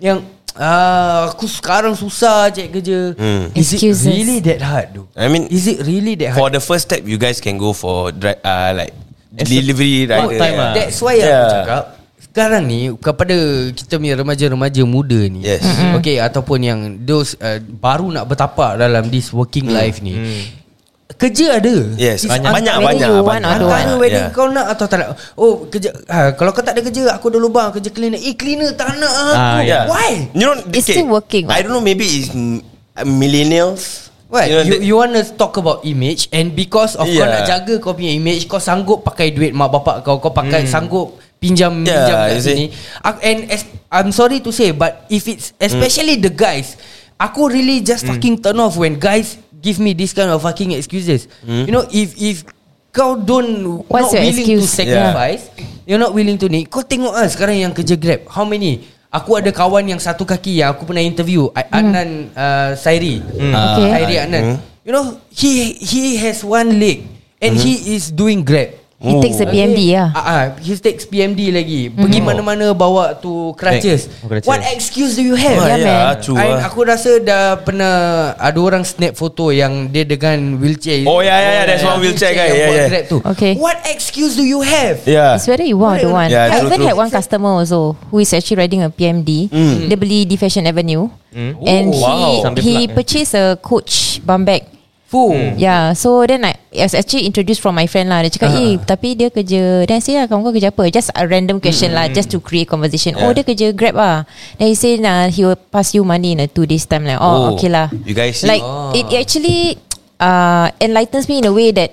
Yang ah, Aku sekarang susah cek kerja Is
Excuses.
it really that hard though?
I mean,
Is it really that hard?
For the first step, you guys can go for dri- uh, like delivery
part
rider.
time lah.
ah. That's why yeah. aku
Yeah.
cakap sekarang ni kepada kita punya remaja-remaja muda ni.
Yes. Mm-mm.
Okay ataupun yang those uh, baru nak bertapak dalam this working mm. life ni. Mm. Kerja ada.
Yes,
It's
banyak
un-
banyak
whether
banyak.
you want
banyak.
or don't
Antara wedding
Yeah.
kau nak atau tak nak Oh kerja ha, Kalau kau tak ada kerja Aku ada lubang kerja cleaner Eh cleaner tak nak ah,
Ah,
aku.
Yeah.
Why?
You know,
It's still working, what?
I don't know. Maybe it's mm, millennials.
What? You,
know,
you,
that-
you want to talk about image And because of yeah. kau
Yeah.
nak jaga kau punya image Kau sanggup pakai duit mak bapak kau Kau pakai hmm. sanggup pinjam
Yeah,
pinjam kat
you see.
sini Ak- And as, I'm sorry to say But if it's Especially the guys Aku really just
Hmm.
fucking turn off When guys give me this kind of fucking excuses
Hmm.
You know if if kau don't
What's
not
your
willing to
excuse?
sacrifice yeah. You're not willing to ni Kau tengok lah sekarang yang kerja grab How many? Aku ada kawan yang satu kaki Yang aku pernah interview A- Anan uh, Sairi
Hmm.
Hmm. Okay.
Hmm.
Sairi Adnan. You know, he he has one leg and he is doing grab.
Oh.
He takes a BMD lah
Ah, ah, he takes PMD lagi.
Hmm.
Oh.
Pergi mana-mana bawa tu crutches.
Oh, crutches.
What excuse do you have?
Ah,
Yeah,
ya,
man.
acu
I,
ah.
aku rasa dah pernah ada orang snap foto yang dia dengan wheelchair. Ah,
Oh, yeah, yeah, yeah, that's one wheelchair guy.
yang
kan? Yeah,
buat
yeah.
Grab tu.
Okay.
What excuse do you have?
Yeah.
It's whether you want or don't want.
Yeah,
I
true,
even
true. Hmm.
had one customer also who is actually riding a PMD. Dia beli di Fashion Avenue.
Oh,
And
wow.
he
Hmm.
Sambil
he
plug, eh.
purchased a Coach bum bag.
Fu.
Yeah, Ya, so then I, I was actually introduced from my friend lah.
Ah.
Dia cakap, eh, tapi dia kerja. Then I say, lah, kawan kau kerja apa? Just a random question lah,
Hmm.
just to create conversation. Oh, dia kerja Grab ah. Then he say, nah, he will pass you money in a two days time. Like, oh,
Oh,
okay lah.
you guys see? Oh.
Like, it actually uh, enlightens me in a way that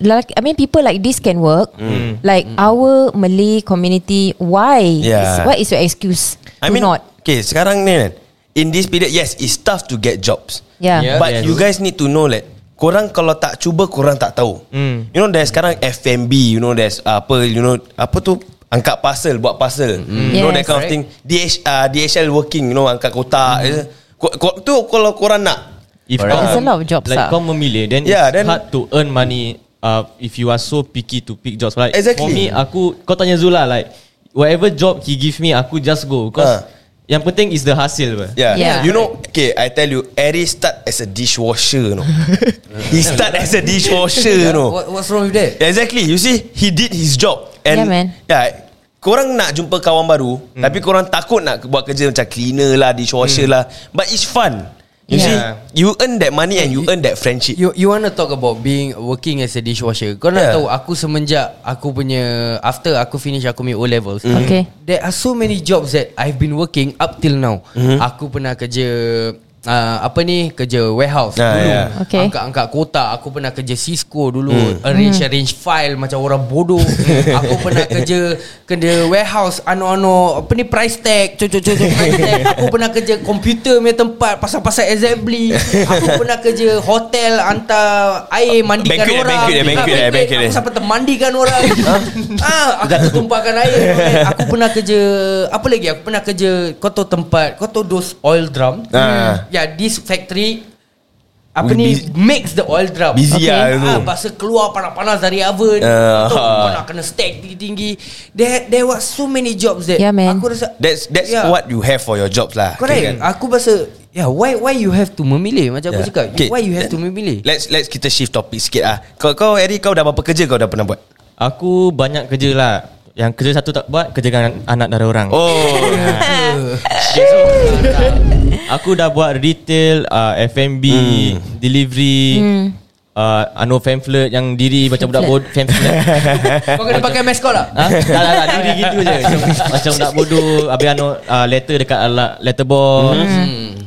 Like, I mean, people like this can work.
Hmm.
Like our Malay community, why?
Yeah.
Is- What is your excuse?
I
to
mean,
not.
okay, sekarang ni kan, in this period, yes, it's tough to get jobs.
Yeah.
Yeah. yes.
But you guys need to know that Korang kalau tak cuba Korang tak tahu mm. You know there's sekarang FMB You know there's uh, Apa you know Apa tu Angkat parcel Buat parcel mm. You know that
Yes.
kind of thing DH, uh, DHL working You know angkat kotak mm. ko, ko, Tu kalau korang nak
If
Correct.
kau-
There's a lot of jobs
Like
ah.
kau memilih Then
Yeah,
yeah, it's
then-
then hard to earn money uh, If you are so picky to pick jobs like,
Exactly.
For me aku Kau tanya Zula like Whatever job he give me Aku just go
Ah.
Because Yang penting is the hasil bah.
Yeah.
Yeah.
You know Okay I tell you Ari start as a dishwasher you know. He start as a dishwasher you know.
What, what's wrong with that?
Exactly You see He did his job And
Yeah, man.
yeah, Korang nak jumpa kawan baru hmm. Tapi korang takut nak Buat kerja macam cleaner lah Dishwasher hmm. lah But it's fun You
Yeah.
see You earn that money And you earn that friendship
You you want to talk about being working as a dishwasher. Kau nak
Yeah.
yeah. tahu aku semenjak aku punya after aku finish aku punya O levels.
Mm-hmm.
Mm. Okay.
There are so many jobs that I've been working up till now.
Mm-hmm.
Aku pernah kerja uh, apa ni kerja warehouse
Ah,
dulu.
yeah.
Okay.
Angkat-angkat kotak. Aku pernah kerja Cisco dulu.
Hmm.
Arrange arrange file macam orang bodoh. aku pernah kerja kerja warehouse ano-ano apa ni price tag. Cuk cuk cuk cuk, price tag. Aku pernah kerja komputer punya tempat pasal-pasal assembly. Aku pernah kerja hotel hantar air mandikan
Banquet,
orang.
banquet, banquet,
Ah,
banquet.
Aku sampai termandikan orang. ah, aku tumpahkan air. Aku pernah kerja apa lagi? Aku pernah kerja kau tahu tempat, kau tahu those oil drum.
Ah.
Ya, yeah, this factory apa
We
ni
busy-
mix the oil drum.
Busy
Okay.
lah you know.
Ah, bahasa keluar panas-panas dari oven.
Ah.
Kau tahu kau nak kena stack tinggi-tinggi. There there was so many jobs that
Yeah, man.
aku rasa
That's that's
Yeah.
what you have For your jobs lah
Correct.
Okay, kan?
Aku rasa yeah, why why you have to memilih macam
Yeah.
aku cakap.
Okay,
Why you have to
then
memilih?
Let's let's kita shift topic sikit ah. Kau kau Eri kau dah berapa kerja kau dah pernah buat?
Aku banyak kerja lah Yang kerja satu tak buat Kerja dengan anak dari orang
Oh,
Aku dah buat retail uh, F&B Delivery uh, Ano pamphlet Yang diri macam budak bodoh Pamphlet
Kau kena pakai mask kau lah.
Ha? Tak, tak, tak. Diri gitu je. Macam, macam nak bodoh. Habis anu, uh, letter dekat ala- letterbox.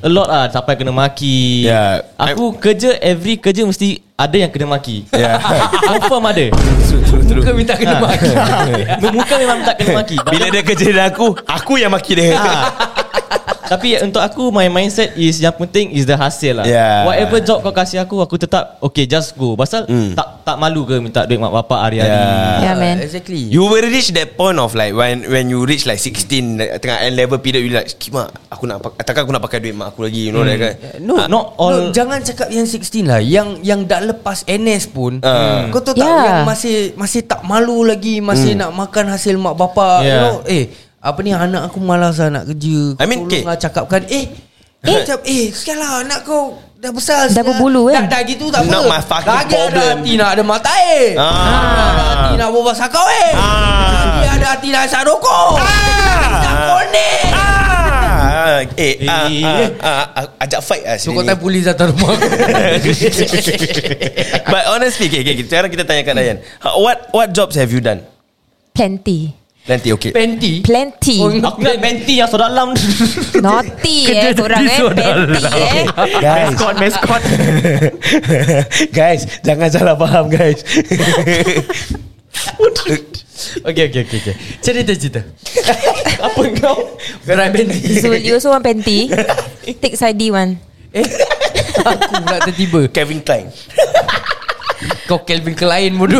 A lot lah. Sampai kena maki.
Yeah.
Aku kerja, every kerja mesti ada yang kena maki.
Yeah.
Confirm ada.
true, true, true.
Kau minta kena pakai.
Muka memang tak kena maki.
Bila dia kerja dengan aku, aku yang maki dia.
Ah.
Tapi untuk aku My mindset is Yang penting is the hasil lah
Yeah.
Whatever job kau kasih aku Aku tetap Okay just go Pasal tak tak malu ke Minta duit mak bapak hari-hari
Hmm. Yeah.
Yeah, man.
Exactly.
Ya. You will reach that point of like when when you reach like 16 like, tengah N level period you like kima aku nak pak- takkan aku nak pakai duit mak aku lagi you know that kan.
No,
Ah, not all-
no, jangan cakap yang 16 lah. Yang yang dah lepas NS pun, hmm,
Ah.
kau tahu tak
Yeah.
yang masih masih tak malu lagi, masih nak makan hasil mak bapak. You
Yeah.
know, eh, apa ni anak aku malas lah nak kerja.
I mean, okay.
lah cakapkan, eh, eh, macam, eh, sekian lah anak kau dah besar.
Dah
sial.
berbulu, kan?
Dah, dah gitu tak
Not
apa.
my fucking
Lagi ada
problem.
hati nak ada mata eh.
Ah.
Ada hati nak berbual sakau eh.
Ah.
Lagi ada hati nak isap rokok. Nak konek.
Ah, eh,
Eh.
ah, ah, ah, ah, ajak fight lah
Cukup
sini.
time polis datang rumah aku.
But honestly, okay, okay, okay, sekarang kita tanya kat Dayan. Ha, What what jobs have you done?
Plenty.
Nanti okay.
Panty.
Plenty.
Oh,
Aku nak benti yang sodak lam
Naughty eh korang eh. Plenty eh.
Guys, mascot, mascot. guys, jangan salah faham guys.
Okay okay okay, okay.
Cerita-cerita.
Apa kau
Gerai Bendy.
So you also want panty Take sadi one
Eh, aku pula tiba-tiba.
Kevin Klein.
Kau Calvin Klein bodoh.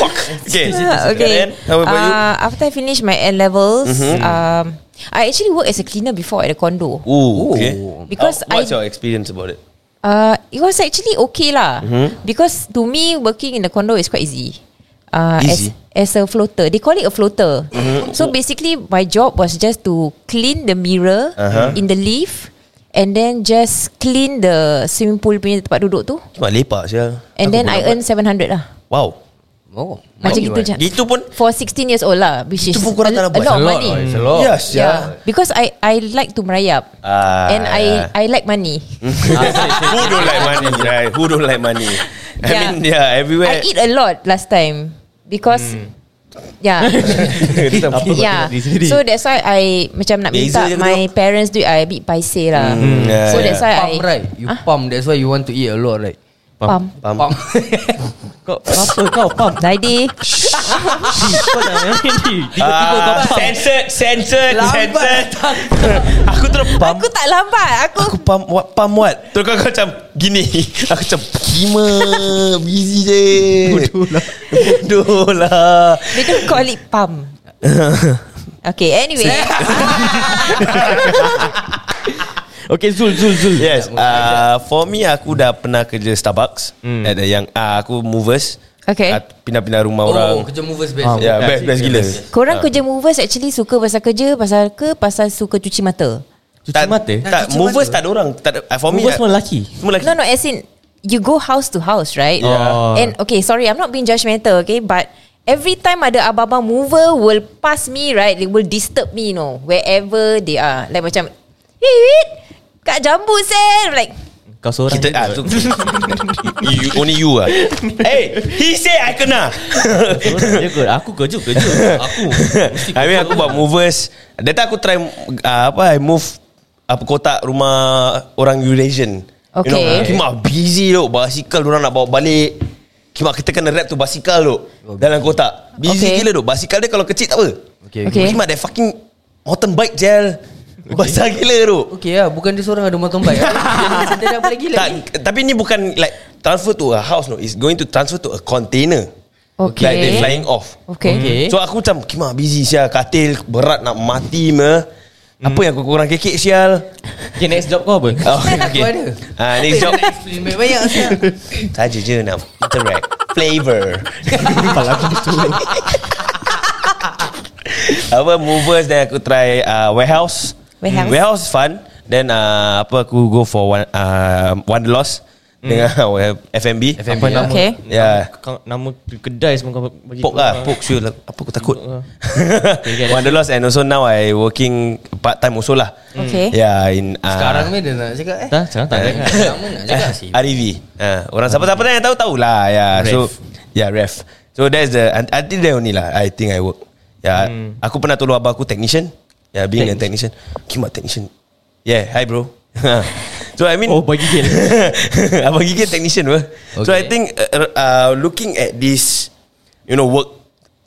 Fuck. Okay. Karen,
Ah, Okay
How about you? Mm-hmm.
uh, After I finish my N-levels um, I actually worked as a cleaner before At a condo
Ooh, okay.
Because
How- what's
I-
your experience about it?
Uh, it was actually okay lah mm-hmm. because to me working in the condo is quite easy. Uh,
Easy?
As, as a floater, they call it a floater. Mm-hmm. So basically, my job was just to clean the mirror uh-huh. in the lift, and then just clean the swimming pool punya tempat duduk tu.
Cuma lepak saja.
And then I earn 700 lah.
Wow.
Oh,
Macam
money,
gitu
right?
je.
Gitu pun
For 16 years old lah, which is
Itu pun korang tak nak buat.
a lot of
It's a lot,
money.
lah, it's a lot.
Yes, ya. yeah.
Yeah, because I I like to merayap
Ah.
and I I like money.
Ah,
Who don't like money, right? Who don't like money? I
Yeah.
mean, yeah, everywhere.
I eat a lot last time because yeah.
Hmm. Apa kau
yeah.
tengok di sini?
So that's why I macam nak
Beza
minta
je kau
my parents do I a bit paiseh lah.
Hmm, yeah,
so
yeah.
that's why I
Pump right You
Ah,
pump That's why you want to eat a lot right
pump.
Pam.
Pump
Kau apa kau pam?
Zaidi
Kau tak ni. Tiba-tiba kau
Ah,
pam.
censored, censored, censored.
Lambat
Aku terus pam.
Aku tak lambat Aku
Aku pam what pam what? Terus kau kau macam gini. Aku macam kima busy je. Bodoh lah. Bodoh lah.
They don't call it pump Okay anyway
Okay Zul Zul Zul.
Yes, uh, for me aku dah pernah kerja Starbucks mm. at the yang uh, aku movers.
Okay.
Uh, pindah-pindah rumah orang.
Oh kerja movers best
Ah,
Ya, yeah, best, best gila.
Ah.
Korang kerja movers actually Suka pasal kerja Pasal ke Pasal suka cuci mata
Cuci mata.
Tak,
cuci
movers
mata.
tak ada orang. Tak ada, uh, for me,
Movers
tak-
semua lelaki.
Semua lelaki.
No no as in You go house to house right
Yeah.
And okay sorry I'm not being judgmental okay But Every time ada abang-abang mover Will pass me right They will disturb me you know Wherever they are Like macam Hey wait Kak Jambu sel Like
Kau seorang.
Kita ah, so, you, only you ah. hey, he say I kena.
Seorang je kot. Aku kerja kerja. Aku. mesti
I mean aku buat movers. That time aku try uh, apa I move apa kotak rumah orang Eurasian.
Okay.
You know, Kimak busy tu Basikal orang nak bawa balik Kimak kita kena rap tu basikal tu Dalam kotak Busy
Okay.
gila tu Basikal dia kalau kecil tak apa
Okay
Okay.
Kimak that fucking Mountain bike gel Basah gila tu
Okay lah Bukan dia seorang ada mountain bike Kita dah boleh gila
tak, Tapi ni bukan like Transfer to a house no It's going to transfer to a container
Okay
Like they flying off
Okay, okay.
Okay.
So aku macam Kima busy sial Katil berat nak mati me Apa yang aku kurang kekek sial
Okay next job kau apa?
Oh,
Aku ada
Ah, next job
Explain banyak sial.
Saja je nak interact Flavor
Kepala aku betul.
Apa movers Then aku try uh, warehouse
Warehouse.
Warehouse is fun Then uh, apa aku go for one, uh, Wanderlost Dengan FMB
Apa nama?
Okay.
Ya.
Nama, nama kedai semua kau bagi.
Pok
kau.
lah Pok sure lah Apa aku takut
Pok lah.
okay, Wanderlost And also now I working Part time also lah
Okay.
Yeah in uh,
Sekarang ni dia nak cakap eh
Tak, sekarang tak ada.
Lama nak cakap sih
REV uh, Orang siapa-siapa yang tahu Tahulah yeah. So Yeah ref So that's the Until there only lah I think I work Yeah hmm. Aku pernah tolong abang aku Technician Yeah being a technician Kimak technician Yeah hi bro So I mean
Oh, bagi gel.
Abang Gigi technician apa So I
Okay.
think uh, uh, Looking at this You know work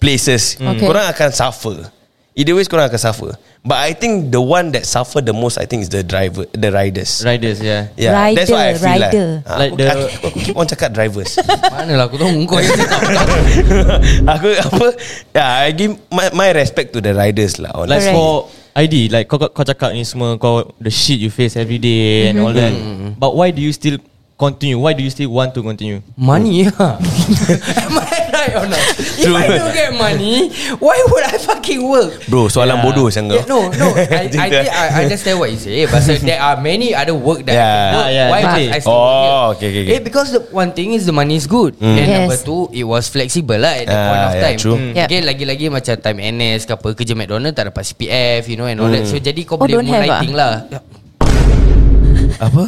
Places
Hmm.
Okay.
Korang akan suffer Either ways korang akan suffer But I think the one that suffer the most I think is the driver The riders
Riders ya. yeah.
Yeah,
Rider,
that's what I feel
rider.
Like,
Like
like aku,
the-
aku, aku keep on cakap drivers.
Mana lah aku tahu Kau yang cakap
aku apa? Yeah, I give my, my respect to the riders lah.
Like
Honestly.
Alright.
for ID Like kau, kau, kau cakap ni semua Kau the shit you face every day And all that
Mm-hmm.
But why do you still Continue Why do you still want to continue
Money ya? yeah. Am I right or not If I don't get money Why would I fucking work
Bro, soalan
Yeah.
bodoh sangat.
Yeah, no, no. I, I, think I I understand what you say, but so there are many other work that I
Yeah.
can do.
Ah, yeah,
Why
exactly.
must I still work
Oh,
here?
okay, okay, okay.
Eh, because the one thing is the money is good. Mm. Then
Yes.
number two, it was flexible lah at that
Ah,
point of
yeah,
time.
true.
Yep.
Again, lagi-lagi macam time NS ke apa kerja McDonald tak dapat CPF, you know and all that.
Mm.
So jadi kau
Oh,
boleh
don't have
moonlighting lah.
Apa?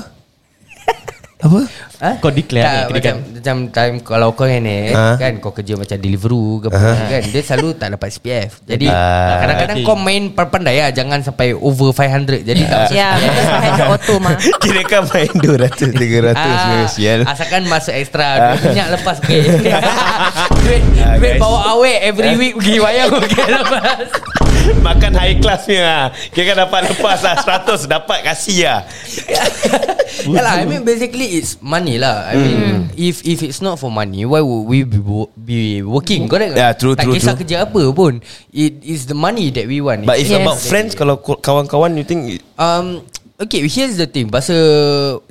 apa? eh,
Ha?
Kau declare ni
tak, macam,
kirakan.
macam time kalau kau NS
Ah.
kan kau kerja macam Deliveroo ke apa kan dia selalu tak dapat CPF. Jadi
Ha? Ah.
kadang-kadang
Okay.
kau main pandai lah jangan sampai over 500. Jadi tak masuk
Yeah Because I had the auto mah
Kira kan main 200 300 ah, sial.
Asalkan masuk ekstra Duit minyak lepas pergi Duit,
Ah,
duit
guys. Ah.
bawa awet Every week pergi wayang Pergi lepas
Makan high class ni lah. Kira kan dapat lepas lah 100 dapat kasih lah.
Yalah I mean basically It's money lah I mean
Hmm.
If if it's not for money Why would we be, wo- be working Correct
Yeah, true,
Tak
true,
kisah
true.
kerja apa pun It is the money that we want
But if yes.
Yes.
about friends kalau ko- kawan-kawan you think
um, Okay here's the thing Pasal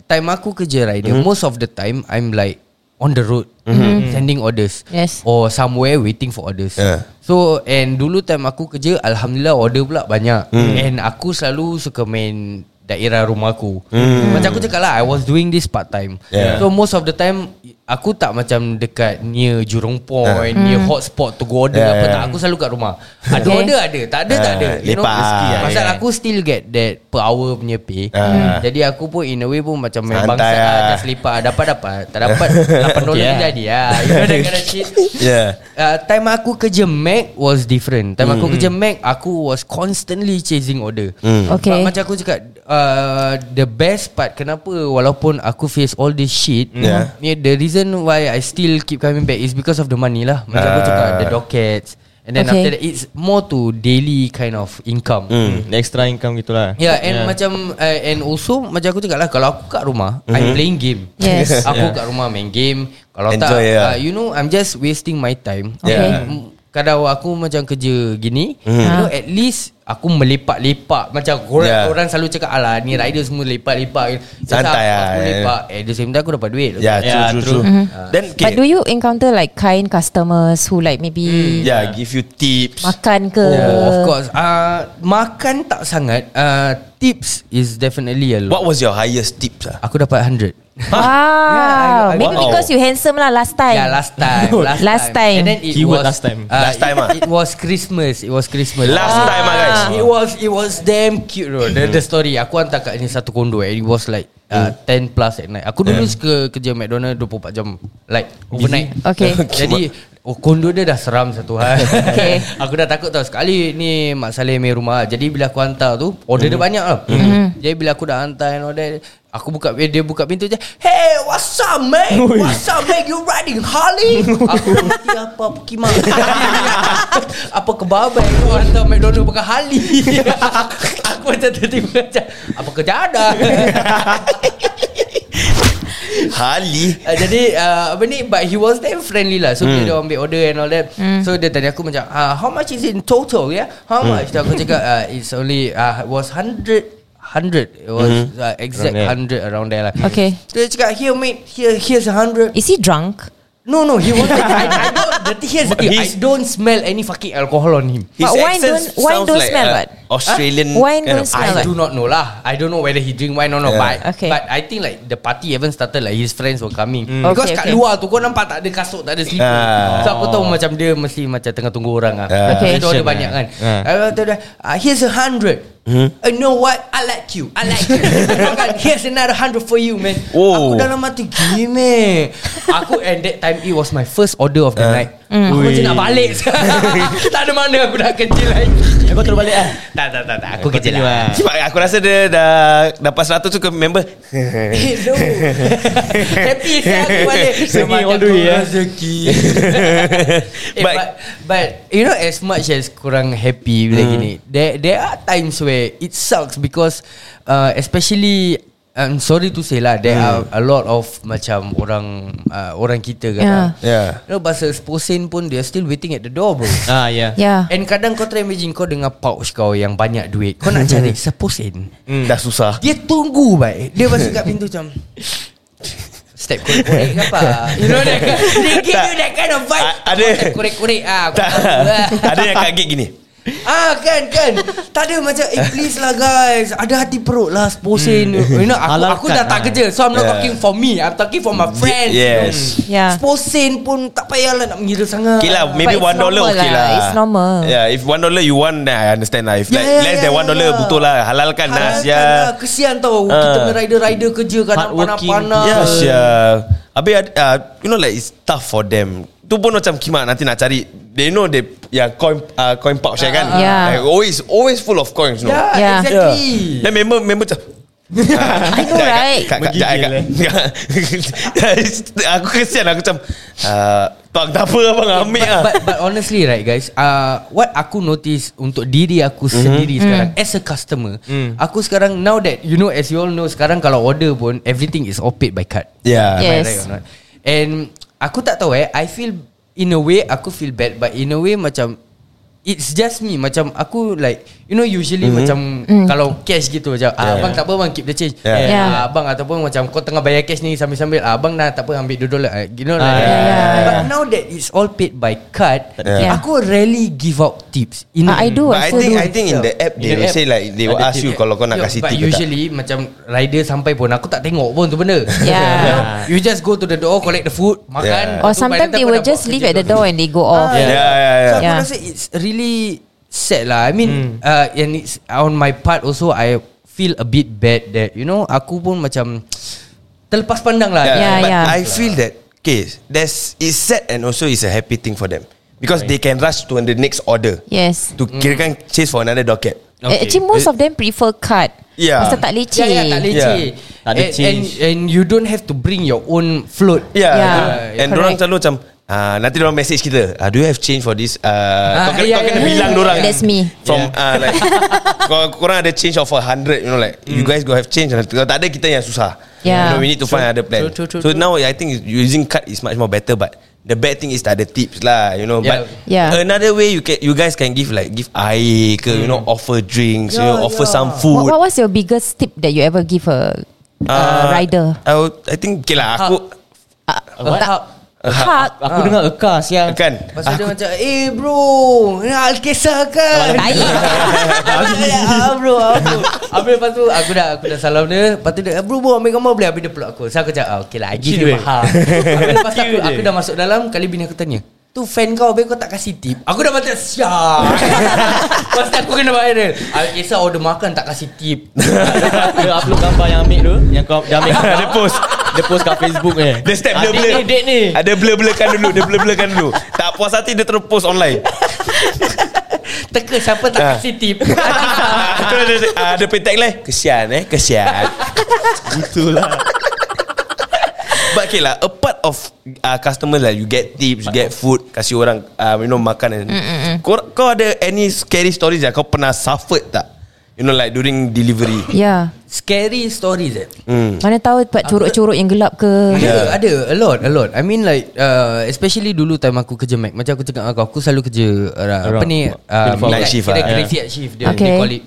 Time aku kerja rider
Mhm.
mm-hmm. Most of the time I'm like On the road mm-hmm. Sending orders
Yes.
Or somewhere waiting for orders
Yeah.
So and dulu time aku kerja Alhamdulillah order pula banyak
Hmm.
mm. And aku selalu suka main Daerah rumah aku mm. Macam aku cakap lah I was doing this part time
Hmm. Yeah.
So most of the time Aku tak macam dekat Near Jurong Point Near hotspot to go order
Yeah,
yeah, apa
yeah.
tak Aku selalu kat rumah Ada
Hmm. Okay.
order ada Tak ada tak ada
Ah, lepak
rezeki
lah.
Pasal
Yeah.
aku still get that Per hour punya pay Hmm.
Ah.
Jadi aku pun in a way pun Macam main
Santai
bangsa
lah.
lah Just lepak Dapat-dapat Tak dapat 8 dolar
Yeah.
yeah. jadi lah You know that kind of shit
Yeah.
Uh, time aku kerja Mac was different. Time
Hmm.
aku kerja Mac, aku was constantly chasing order.
Okay.
But macam aku cakap, uh, the best part kenapa walaupun aku face all this shit,
Hmm. Yeah.
ni the reason why I still keep coming back is because of the money lah. Macam aku
Ah.
cakap the dockets. And then
Okay.
after that it's more to daily kind of income.
Mm.
Hmm, extra income gitulah.
Yeah Ya, and
Ya.
yeah. macam uh, And also Macam aku cakap lah Kalau aku kat rumah mm-hmm. I'm
Mhm.
playing game
Yes.
Aku
Yeah.
yeah. kat rumah main game Kalau Enjoy, tak
Ya. Enjoy, ya. yeah.
yeah. uh, You know I'm just wasting my time
Okay.
M- Kadang aku macam kerja gini
Mhm.
mm. You know
Ha.
at least Aku melepak-lepak Macam orang,
Yeah.
yeah. orang selalu cekak Alah ni rider semua lepak-lepak
Ya. Santai lah,
aku,
Ya.
aku
eh.
lepak At the same time aku dapat duit
Yeah, true,
Yeah,
true, true.
true.
Then, okay.
But do you encounter like kind customers who like maybe
yeah, give you tips.
makan ke?
Hmm. Oh, of course. Uh, makan tak sangat. Uh, tips is definitely a lot.
What was your highest tips lah?
Aku dapat 100.
Wow.
Yeah, I- I-
maybe
Wow.
because you handsome lah last time.
Yeah, last time. Last,
Last time.
And then it
Keyword
was, uh,
last time.
Last time, ah.
it, it was Christmas. It was Christmas. Ah.
Last time lah guys.
It was it was damn cute bro. The, the story. Aku hantar kat ni satu kondo. Eh. It was like
Hmm.
uh, 10 plus at night. Aku dulu yeah. suka kerja McDonald 24 jam. Like overnight.
Okay.
Jadi Oh kondo dia dah seram satu hari
Okay.
Aku dah takut tau Sekali ni Mak Saleh main rumah Jadi bila aku hantar tu Order mm. dia banyak lah mm. Jadi bila aku dah hantar and all that, Aku buka eh, Dia buka pintu je Hey what's up mate What's up mate You riding Harley Aku pergi apa Pergi mak Apa kebabai Kau hantar McDonald pakai Harley Aku macam tiba-tiba macam Apa kerja ada
Hali.
Uh, jadi uh, apa ni But he was damn friendly lah So
Hmm.
mm. dia ambil order and all that mm. So dia tanya aku macam uh, How much is it in total yeah How
Hmm.
mm. much Dan Aku cakap uh, It's only uh, Was hundred Hundred It was mm. uh, exact
Hmm. Around there.
hundred around there lah
Okay.
So dia cakap Here mate here, Here's a hundred
Is he drunk?
No no he was I, I don't the, thing- Here's the thing I
He's-
don't smell any fucking alcohol on him
But wine
accent
don't- wine
sounds
don't smell,
uh,
what?
Australian.
Huh? Wine
kind
don't
of-
smell.
I
Alright.
do not know lah. I don't know whether he drink wine or
Yeah.
not. But
Okay.
but I think like the party even started like his friends were coming.
Okay,
Because kat
okay.
luar tu kau nampak tak ada kasut, tak ada sleeper.
Ah.
So aku tahu macam dia mesti macam tengah tunggu orang ah.
Ah.
Okay.
Dia
Action,
order banyak
eh.
kan.
Ah.
I kata dia, "Ah, here's a hundred. "Eh, You know what? I like you. I like you. Makan, here's another hundred for you, man.
Oh.
Aku dalam hati gini. Aku and that time it was my first order of the night.
Mm.
Aku macam nak balik. tak ada mana aku nak kerja lagi.
Kau terus balik ah.
Tak tak tak, tak. aku kerja
Continue,
lah.
ah.
Sebab aku rasa dia dah dapat 100 tu ke member.
Hello Happy saya aku balik
Singing
Macam
all the way,
korang
eh.
Rezeki eh,
But-
but, but You know as much as Kurang happy Bila gini There there are times where It sucks because uh, Especially I'm sorry to say lah There are a lot of Macam orang uh, Orang kita kan
Yeah.
Yeah.
You know bahasa Sposin pun They are still waiting at the door bro
Ah, yeah.
Yeah.
And kadang kau try imagine Kau dengan pouch kau Yang banyak duit Kau nak cari Sposin
Hmm, Dah susah.
dia tunggu baik Dia masuk kat pintu macam Step korek-korek ke apa You know that kind- They give you that kind of vibe
A- ada-
Step korek-korek ah, aku
Tak.
tak tahu lah.
Ada yang kat gig gini.
Ah kan kan Tak ada macam Eh please lah guys Ada hati perut lah Sposin You know aku, aku
Halalkan
dah tak
lah.
kerja So I'm not
Yeah.
talking for me I'm talking for my friends
Yes.
Yeah.
Sposin pun tak payahlah nak mengira sangat
Okay lah, maybe
it's
one dollar
normal
okay
lah.
lah.
It's normal.
Yeah, if one dollar you want, then I understand lah. If like
Yeah, yeah,
less
yeah,
than one
yeah,
dollar,
yeah.
betul lah. Halalkan lah,
Halalkan
Sia.
lah. Kesian tau Kita punya rider-rider kerja Kadang
Hardworking.
panas-panas
Ya, Sia. Habis, ad- ah, you know like it's tough for them. Tu pun macam kimak nanti nak cari. They know they, yeah, coin, uh, coin pouch uh, kan.
Yeah.
Like, always, always full of coins, no.
Yeah.
Yeah, Ya, exactly
Then member member macam
I know, right?
Kak, kak, kak, kak, kak. Aku kesian Aku macam uh, Bang tak apa Abang ambil
but,
lah
but, but honestly right guys uh, What aku notice Untuk diri aku
Mhm.
mm-hmm. sendiri sekarang As a customer mm. Aku sekarang Now that you know As you all know Sekarang kalau order pun Everything is all paid by card
Yeah
Yeah. Yes.
Am I right or not? And Aku tak tahu eh I feel In a way Aku feel bad But in a way macam It's just me Macam aku like You know usually mm-hmm. macam mm. Kalau cash gitu macam yeah. Abang tak apa bang keep the change
Yeah.
yeah.
Yeah.
Abang ataupun macam Kau tengah bayar cash ni sambil-sambil ah, Abang dah tak apa ambil 2 dolar Eh, You know like
Ah,
that.
yeah,
yeah,
But
yeah.
now that it's all paid by card
Yeah.
yeah. Aku rarely give out tips in
Ah, I do.
But I
also
think
do.
I think in the app
In
they
the
will
app,
say like they will
ada
ask you
tip.
kalau kau nak
Yeah,
kasih
But
tip ke tak.
usually Macam rider sampai pun Aku tak tengok pun tu benda
Yeah.
You know, You just go to the door Collect the food
Yeah.
Makan
Or
Lepas tu by
Ya. sometimes
the time
they
kau
will
dah
just
buat
leave
kerja
at the
tu.
door and they go off.
Yeah, yeah,
So
yeah.
aku
Yeah.
rasa it's really sad lah.
Hmm.
I mean, uh, and it's on my part also I feel a bit bad that you know aku pun macam terlepas pandang lah.
Yeah,
but
yeah.
I feel that okay, there's it's sad and also it's a happy thing for them because they can rush to the next order
Yes.
to kirakan chase for another docket.
Okay. Actually most of them prefer card.
Yeah.
Pasal tak Ya, leceh.
Yeah, yeah, Ya, tak leceh.
Yeah.
Tak ada
And, and,
change.
and you don't have to bring your own float.
Yeah,
Yeah,
betul.
yeah.
And orang
Correct.
selalu macam ah nanti orang message kita. Ah, do you have change for this? Ah, kau kena,
yeah,
kau kena
yeah.
bilang orang.
That's me.
From ah like kau korang ada change of a hundred, you know like you guys go have change. Kalau tak ada kita yang susah. You
Yeah.
know, we need to find other plan.
true, true,
so
true.
now I think using card is much more better, but the bad thing is tak ada tips lah, you know.
Yeah.
But
Yeah.
another way you can you guys can give like give air ke, you know, offer drinks, you know, offer some
What,
food.
what was your biggest tip that you ever give a uh,
Ah,
rider?
I, would- I think okay lah aku
What?
Tak-
uh,
Hug.
Aku dengar Eka siang
kan.
Pasal dia macam Eh bro Ni Alkisah kan
Tai.
Ah bro aku. Habis lepas tu Aku dah aku dah salam dia Lepas tu dia "Ah, Bro bro ambil gambar boleh Habis dia peluk aku So aku cakap ah, Okay lah I give
Chill
you a
weh.
hug Habis lepas tu aku,
Chill je.
aku dah masuk dalam Kali bini aku tanya Tu fan kau Habis kau tak kasih tip Aku dah macam Syah Lepas tu aku kena bayar dia Alkisah order makan Tak kasih tip
Dia upload gambar yang ambil tu Yang kau dia ambil Dia post Dia post kat Facebook ni
Dia step
Ah,
dia blur
Date ni date ni
Ada blur-blurkan dulu Dia blur-blurkan dulu Tak puas hati dia terus post online
Teka siapa
Ah.
tak kasih tip
Terus dia ah, Dia punya tagline Kesian eh Kesian Itulah But okay lah A part of uh, Customer lah You get tips You get food Kasih orang uh, You know makan and kau, kau ada any Scary stories yang Kau pernah suffered tak You know like During delivery
Yeah.
Scary stories eh
Mana tahu
Uh,
buat curut-curut yang gelap ke.
Ada,
Ya.
yeah. ada a lot, a lot. I mean like uh, especially dulu time aku kerja Mac. Macam aku cakap dengan kau, aku selalu kerja uh, apa ni uh,
Night shift
lah.
ah.
Crazy yeah. shift dia
Okay.
okay. they call it.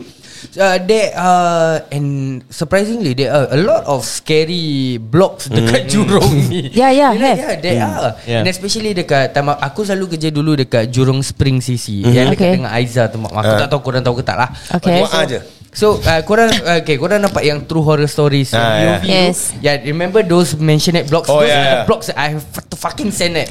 Uh, there are and surprisingly there are a lot of scary blocks
Mm.
dekat Jurong ni.
Yeah, yeah,
you know,
have.
yeah there are.
Hmm.
Yeah.
And especially dekat time aku selalu kerja dulu dekat Jurong Spring CC.
Mhm.
Yang dekat
Okay.
dengan Aiza tu. Aku tak tahu korang tahu ke tak lah.
Okay.
Doa je
So uh, korang okay, korang nampak yang true horror stories
Ah,
ah,
yeah.
yeah.
Yes.
Yeah, remember those mentioned blocks?
Oh,
those
yeah,
are the
yeah.
blocks that I have to fucking send it.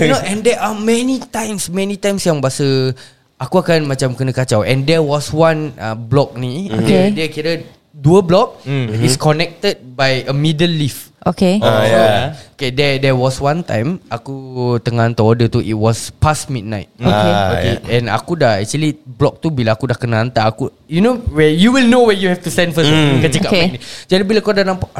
you know, and there are many times, many times yang bahasa aku akan macam kena kacau. And there was one uh, block ni,
Okay.
dia, dia kira dua block
Mm-hmm.
is connected by a middle leaf.
Okay.
Ah,
Uh, Oh.
yeah.
Okay, there there was one time aku tengah hantar order tu it was past midnight.
Okay.
Ah,
Okay, yeah. and aku dah actually block tu bila aku dah kena hantar aku you know where you will know where you have to send first
Hmm.
mm. kan cakap
Okay.
okay. ni. Jadi bila kau dah nampak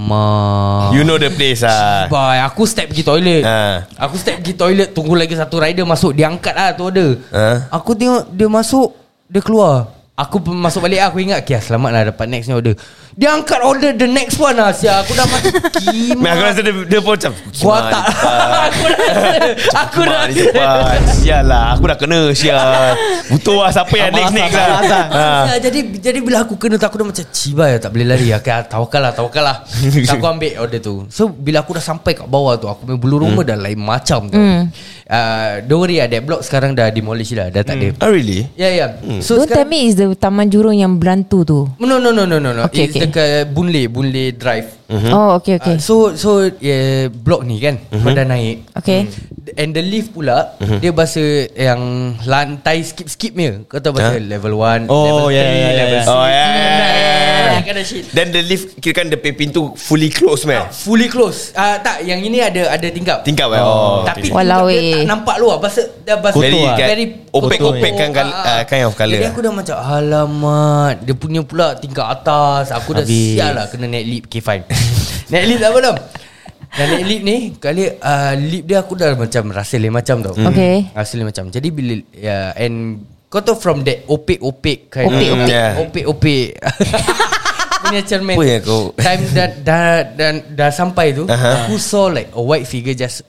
alamak
You know the place ah.
Bye Aku step pergi toilet
Ah.
Aku step pergi toilet Tunggu lagi satu rider masuk Dia angkat lah tu order
Ah.
Aku tengok Dia masuk Dia keluar Aku pun masuk balik lah. Aku ingat Okay selamat lah Dapat next ni order Dia angkat order The next one lah Sia Aku dah macam
Nah, aku
Kimak
rasa dia, dia pun macam
Gua tak Aku rasa Aku
Mak dia
rasa
cepat Sial lah Aku dah kena Sial Butuh lah Siapa yang next next lah ha.
Ya, jadi jadi bila aku kena tu aku dah macam cibai tak boleh lari. Okay, tawakal lah, tawakal lah. So, aku ambil order tu. So bila aku dah sampai kat bawah tu aku punya bulu rumah dah lain macam tu.
Hmm.
Uh, don't worry lah, that block sekarang dah demolish lah. dah, dah tak ada.
Oh really?
Ya ya. So
Don't tell
sekarang
me is the Taman Jurong yang berantu tu.
No no no no no no.
Okay,
It's
okay.
dekat Boon Lay, Boon Lay Drive.
Oh, okay, okay.
Uh, so so yeah, blok ni kan mm-hmm. kau dah naik. Hmm.
Okay.
And the lift pula mm-hmm. dia bahasa yang lantai skip-skip ni. Kau tahu bahasa huh? level 1, level
Oh, yeah, yeah,
three,
yeah,
level
yeah.
Oh yeah, yeah, yeah, yeah.
That kind of shit.
Then the lift Kira kan the pay pintu Fully close man
Fully close. Ah uh, tak, yang ini ada ada tingkap.
Tingkap eh oh.
Tapi
tingkap. Walau
tingkap dia
eh.
tak nampak luar bahasa dah bahasa
Very,
Kotor ah.
kan, opaque-
kotor.
opaque kan kal-
Ah, ah.
ah, kind of colour.
Jadi aku dah macam alamat, dia punya pula tingkat atas. Aku dah
Habis.
sial lah kena naik lip. Okay fine. naik lip tak apa tau. Dan naik lip ni Kali uh, lip dia aku dah macam Rasa lain macam tau
Hmm.
Okay.
Rasa lain macam Jadi bila yeah, And Kau tahu from that Opaque-opaque kind
Opaque,
of-
opaque. Hmm, Yeah.
Opaque-opaque Punya cermin
Apa yang kau-
Time dah, dah, dah, dah sampai tu
Aha.
Aku saw like A white figure just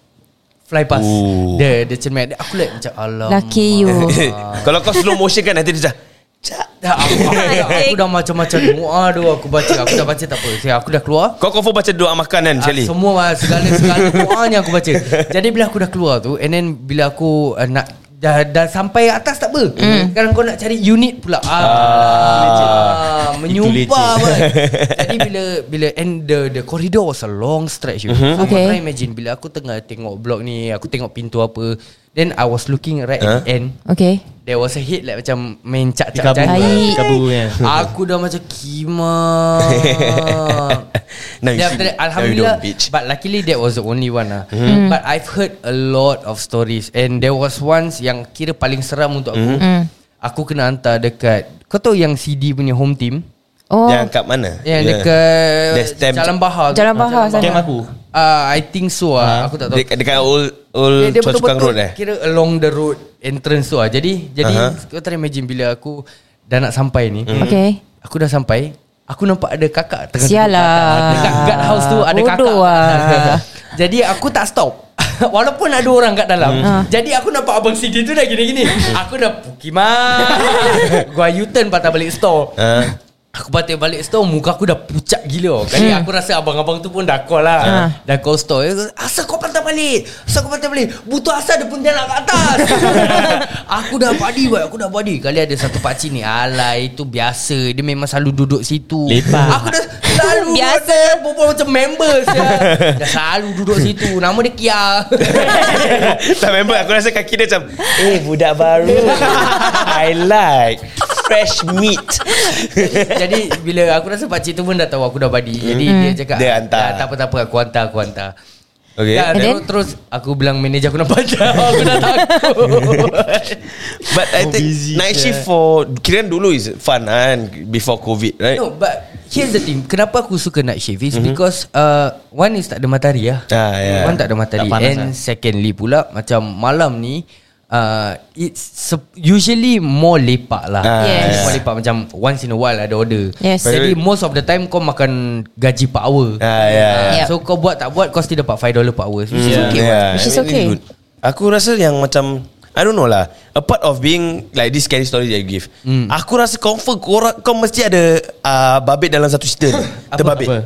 Fly past
Ooh.
The, the cermin Aku like macam Alam
Lucky you.
Oh.
Kalau kau slow motion kan Nanti dia macam Cak
Dah, aku, aku, dah, aku dah macam-macam doa tu aku baca. Aku dah baca tak apa. Saya aku dah keluar.
Kau confirm baca doa makan kan
Ah,
Shelly
semua ah, segala-segala doa yang aku baca. Jadi bila aku dah keluar tu and then bila aku uh, nak dah dah sampai atas tak apa. Sekarang kau nak cari unit pula. Mhm. Ah, ah menyumpah
Itu
kan. Jadi bila bila and the the corridor was a long stretch. You. So
Okay.
Mhm. okay. try imagine bila aku tengah tengok blok ni, aku tengok pintu apa. Then I was looking right huh? at the end.
Okay
There was a head like macam main cak-cak
Dikabur
Baik.
Dikabur kan
Aku dah macam kima.
Now you
Then
see.
after
Now you
that, Alhamdulillah.
don't, bitch. Hmm.
But luckily that was the only one lah.
Hmm.
Mm. But I've heard a lot of stories and there was once yang kira paling seram untuk aku.
Hmm.
Mm.
Hmm.
Aku kena hantar dekat kau tahu yang CD punya home team
Oh
Yang kat mana
yang
Ya. There's
dekat
stamp-
Jalan Bahar. tu.
Jalan Bahar
Camp
sana
aku
Ah, I think so ah. Aku tak tahu.
Dek- Dekat old Old Choa Chu Kang Road eh
Kira along the road entrance tu lah Jadi Jadi
Aha. Hmm.
kau try imagine bila aku Dah nak sampai ni
Okay
Aku dah sampai Aku nampak ada kakak tengah duduk
Sial
kat atas.
lah.
Dekat guard house tu Ada
Bodoh
kakak
lah.
Jadi aku tak stop Walaupun ada orang kat dalam
Ah.
Jadi aku nampak abang CD tu dah gini-gini Aku dah Pukimah Gua U-turn patah balik store
Ah.
Aku patah balik store Muka aku dah pucat gila Kali aku rasa abang-abang tu pun dah call lah
Ha.
Dah call store Dia kata, Asal kau patah balik Asal kau patah balik Butuh asal dia pun dia nak kat atas Aku dah body boy Aku dah body Kali ada satu pakcik ni Alay itu biasa Dia memang selalu duduk situ
Lepak.
Aku dah selalu
Biasa.
dia Berbual macam member sia. Dah selalu duduk situ Nama dia Kia
Tak member Aku rasa kaki dia macam Eh budak baru I like Fresh meat
Jadi bila aku rasa pakcik tu pun dah tahu Aku dah body Jadi dia cakap
Dia hantar.
"Ah, Tak apa tak apa Aku hantar aku hantar
Okay
Yeah,
And
yeah,
then?
terus, terus aku bilang manager aku nak patah Aku dah takut
But I think Night shift for Kira dulu is fun kan Before covid right
No but Here's the thing Kenapa aku suka night shift Is mm-hmm. because uh, One is tak ada matahari lah
Mhm. Ah, yeah.
One tak ada matahari
Tak panas
ah.
And secondly pula Macam malam ni uh, It's sup- usually more lepak lah
Ah,
Yes.
More lepak macam Once in a while ada order
Yes.
Jadi most of the time Kau makan gaji per hour
Ah, Hmm, yeah.
Yep.
So kau buat tak buat Kau still dapat $5 per hour Which is
Yeah.
okay
Yeah, I
Which is
think it's
okay.
good. Aku rasa yang macam I don't know lah A part of being Like this scary story that you give
Hmm.
Aku rasa confirm korang, Kau mesti ada uh, Babit dalam satu cerita ni Terbabit
Apa?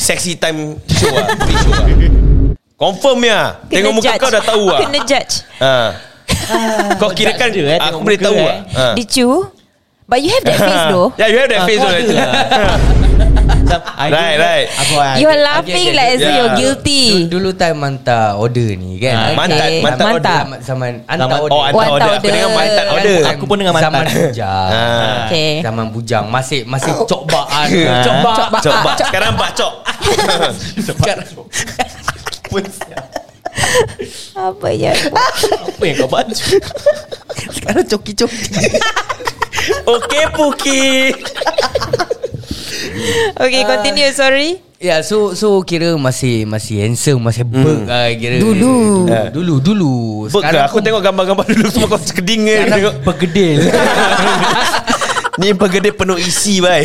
Sexy time show lah Free show lah Confirm ya
Kena
Tengok muka
judge.
kau dah tahu lah
Kena judge Ah.
ha. Kau kira kan
Judge dia, eh, tengok
Aku boleh
muka,
tahu
eh.
lah ha.
Did you But you have that face though
Yeah you
Ah,
have that face already Right, right.
Aku
You are laughing like as if
Yeah.
you're guilty
Dulu, dulu time hantar order ni kan
Ah,
Okay.
mantan- mantan
Mantan.
Zaman- Zaman hantar
Zaman-
order
Oh hantar
hantar
order Aku
order.
dengar hantar
Kan
order
time-
Aku pun dengar mantan.
Zaman bujang
Ah.
Okay
Zaman bujang Masih masih cokbaan Cokbaan
Cokbaan.
Cok bak Sekarang bak cok
Apa ya
Apa yang kau baca
Sekarang coki-coki
Okay Puki Ah.
Okay continue sorry
Ya yeah, so so kira masih masih handsome Masih berk lah kira
Dulu.
Dulu Dulu, dulu.
Bek Hmm. ke? Aku tengok gambar-gambar dulu Semua kau keding ke
Sekarang
Tengok
bergedil
Ni bergedil penuh isi bai.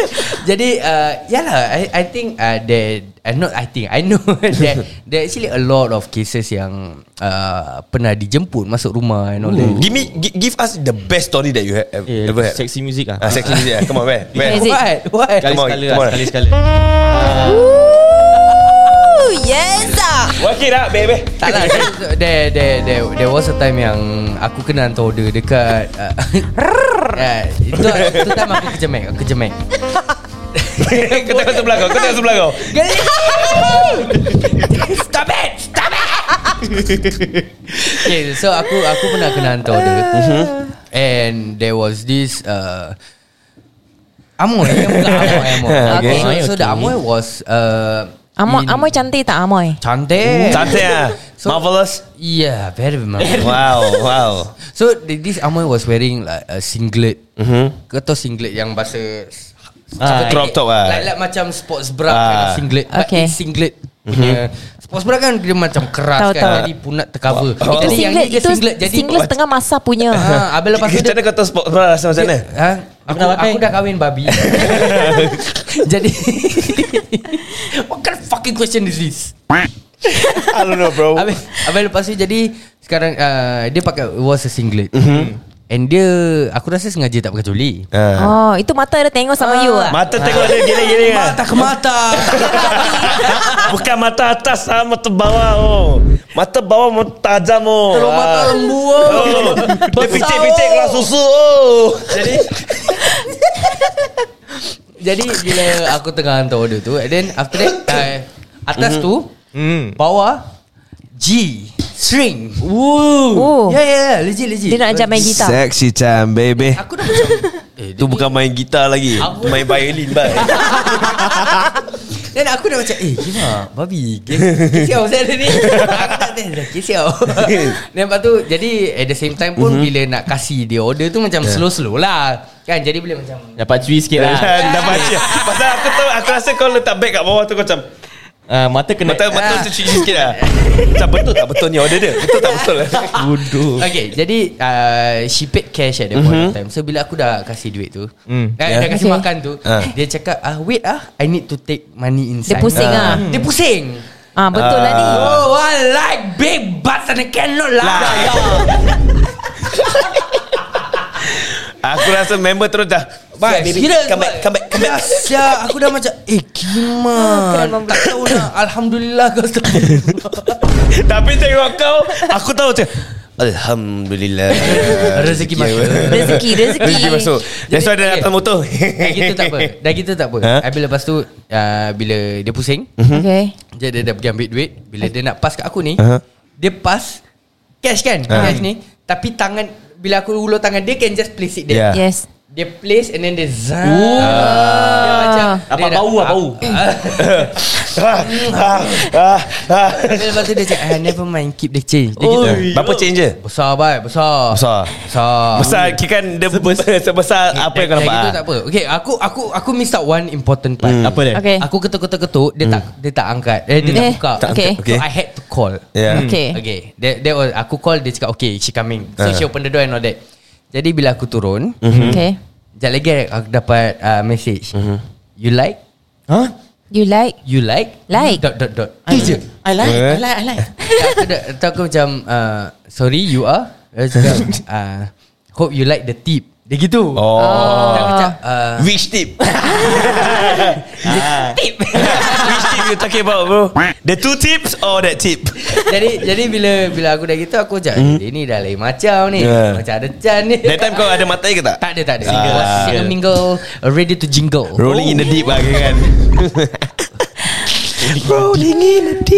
Jadi uh, Yalah I, I think uh, that uh, Not I think I know That There actually a lot of cases yang uh, Pernah dijemput Masuk rumah And all that
Hmm.
Give me gi- give us the best story that you ha-, have ever,
Eh,
ever had.
Sexy music lah
Ah, sexy music. ah. Come on, where? Where?
Is it?
What? What?
Come on,
Sekali-sekala lah
come on.
Sekali-sekala
Ooh, Yes ah.
Work it out, baby.
Tak lah so- there, there, there, there was a time yang Aku kena hantar order dekat uh, uh, Itu itu time aku kerja Mac Aku kerja Mac
Kau tengok sebelah kau. Kau tengok sebelah kau.
Stop it! Stop it! okay, so aku aku pernah kena hantar order
Mm-hmm.
And there was this uh, Amoy yang bukan Amoy, Amoy.
Ha,
Okay.
So, so the Amoy was uh,
Amoy,
in-
Amoy cantik tak Amoy? Eh.
Cantik
Cantik ah.
So-
Marvelous.
Yeah, very much
Wow, wow.
So th- this Amoy was wearing like a singlet. Mm-hmm. Kau tahu singlet yang bahasa
Ah, crop top ah.
Like, like macam sports bra
Ah. Mm-hmm.
kind of singlet.
Okay.
Okay. But it's singlet. Punya. Sports bra kan dia macam keras
Tahu,
kan.
tahu.
Jadi punat tercover.
Oh.
Itu
Jadi yang
singlet
ni dia
Itu singlet,
Jadi
tengah masa punya
Ah, abis lepas tu
Macam
dia
mana kau tahu sport bra rasa macam mana?
Ha? Aku,
pernah pakai?
aku dah kahwin babi Jadi What kind of fucking question is this?
I don't know, bro.
ah, Habis, habis lepas tu jadi Sekarang uh, Dia pakai It was a singlet mm-hmm. And dia Aku rasa sengaja tak pakai coli
Ah.
Oh, itu mata dia tengok sama you ah.
Mata tengok dia giling-giling kan
Mata ke mata
Bukan mata atas ah, Mata bawah oh. Mata bawah mau tajam oh.
Kalau mata
Ah.
lembu oh.
Oh. Dia
Besar,
picit-picit
oh.
kelas susu oh.
Jadi Jadi bila aku tengah hantar order tu And then after that uh, Atas tu
Hmm.
Bawah G String
Oh.
Ya yeah, ya yeah, yeah, legit legit
Dia nak ajak main gitar.
Sexy time baby
Aku dah macam eh,
Tu bukan main gitar lagi
Aku-
Main violin bye
Dan aku dah macam Eh gila Babi Kisiau saya ada ni Aku tak tahu dah Kisiau Dan lepas tu Jadi at the same time pun Bila nak kasih dia order tu Macam slow-slow lah Kan jadi boleh macam
Dapat cuy sikit lah
Dah baca Pasal aku tahu Aku rasa kau letak beg kat bawah tu Kau macam
Ah, Mata kena
Mata mata
Ah.
tu cuci sikit lah Macam betul tak betul ni order dia Betul tak betul lah
Bodoh
Okay jadi uh, She paid cash at that point of time So bila aku dah kasih duit tu
Hmm.
kan, Dah
Yeah.
kasih
Okay.
makan tu
Ah.
Dia cakap ah, Wait ah I need to take money
Dia
inside
pusing ah.
Dia pusing
Ah, betul lah ni.
Oh I like big butts And I cannot
ya
lie
Aku rasa member terus dah
Bye baby Serius,
Come back Come back Come back
Siap Aku dah macam Eh
Ah,
Kiman
keren
Tak tahu lah Alhamdulillah kau stop
Tapi tengok kau
Aku tahu macam Alhamdulillah Ya,
Rezeki masuk
Rezeki, rezeki.
Rezeki masuk That's why
okay.
dia datang motor
Dah gitu tak apa Dah gitu tak apa
Ha?
Habis lepas tu uh, Bila dia pusing
Mm-hmm.
Okay.
Dia dia dah pergi ambil duit Bila dia nak pass kat aku ni
Aha.
Dia pass Cash kan Cash ni Tapi tangan Bila aku ulur tangan Dia can just place it there
Yeah.
Yes.
Dia place and then dia zap. Dia macam
Dapat
dia dah-
bau lah, bau.
Ah.
ah, ah, ah, ah.
Habis Lepas tu dia cakap "Ah, Never mind keep the change Dia
Oh,
gitu
Berapa change je?
Besar baik Besar
Besar.
Besar
Besar kira kan dia sebesar, sebesar apa yang kau nampak
Dah gitu Eh, tak
ah.
apa Okay aku aku aku miss out one important part
Hmm. Apa dia?
Okay.
Aku ketuk-ketuk-ketuk Dia tak dia tak angkat Eh dia tak
Eh,
buka
tak okay.
angkat, okay. Ya.
So I had to call
Ya.
Yeah
Okay.
Okay that, that was, Aku call dia cakap Okay she coming
Ah.
So
Mhm.
she open the door and all that Jadi bila aku turun
Mm-hmm.
Okay.
Sekejap lagi aku dapat uh, message You like
Huh?
You like?
You like
Like.
Dot dot dot Tu je
I like.
Eh?
like. I like.
Aku dah- tu aku macam uh, Sorry you are Dia cakap uh, Hope you like the tip Dia gitu
Oh
Dia macam uh,
Which tip? tip. Which tip you talking about bro? The two tips or that tip?
jadi jadi bila bila aku dah gitu aku cakap mm. ini dah lain macam ni.
Mhm. Yeah.
Macam ada Chan ni.
That time kau ada mata air ke tak?
tak ada tak ada. Single,
Ah.
single mingle ready to jingle.
Rolling in the deep lah kira kan
Jadi,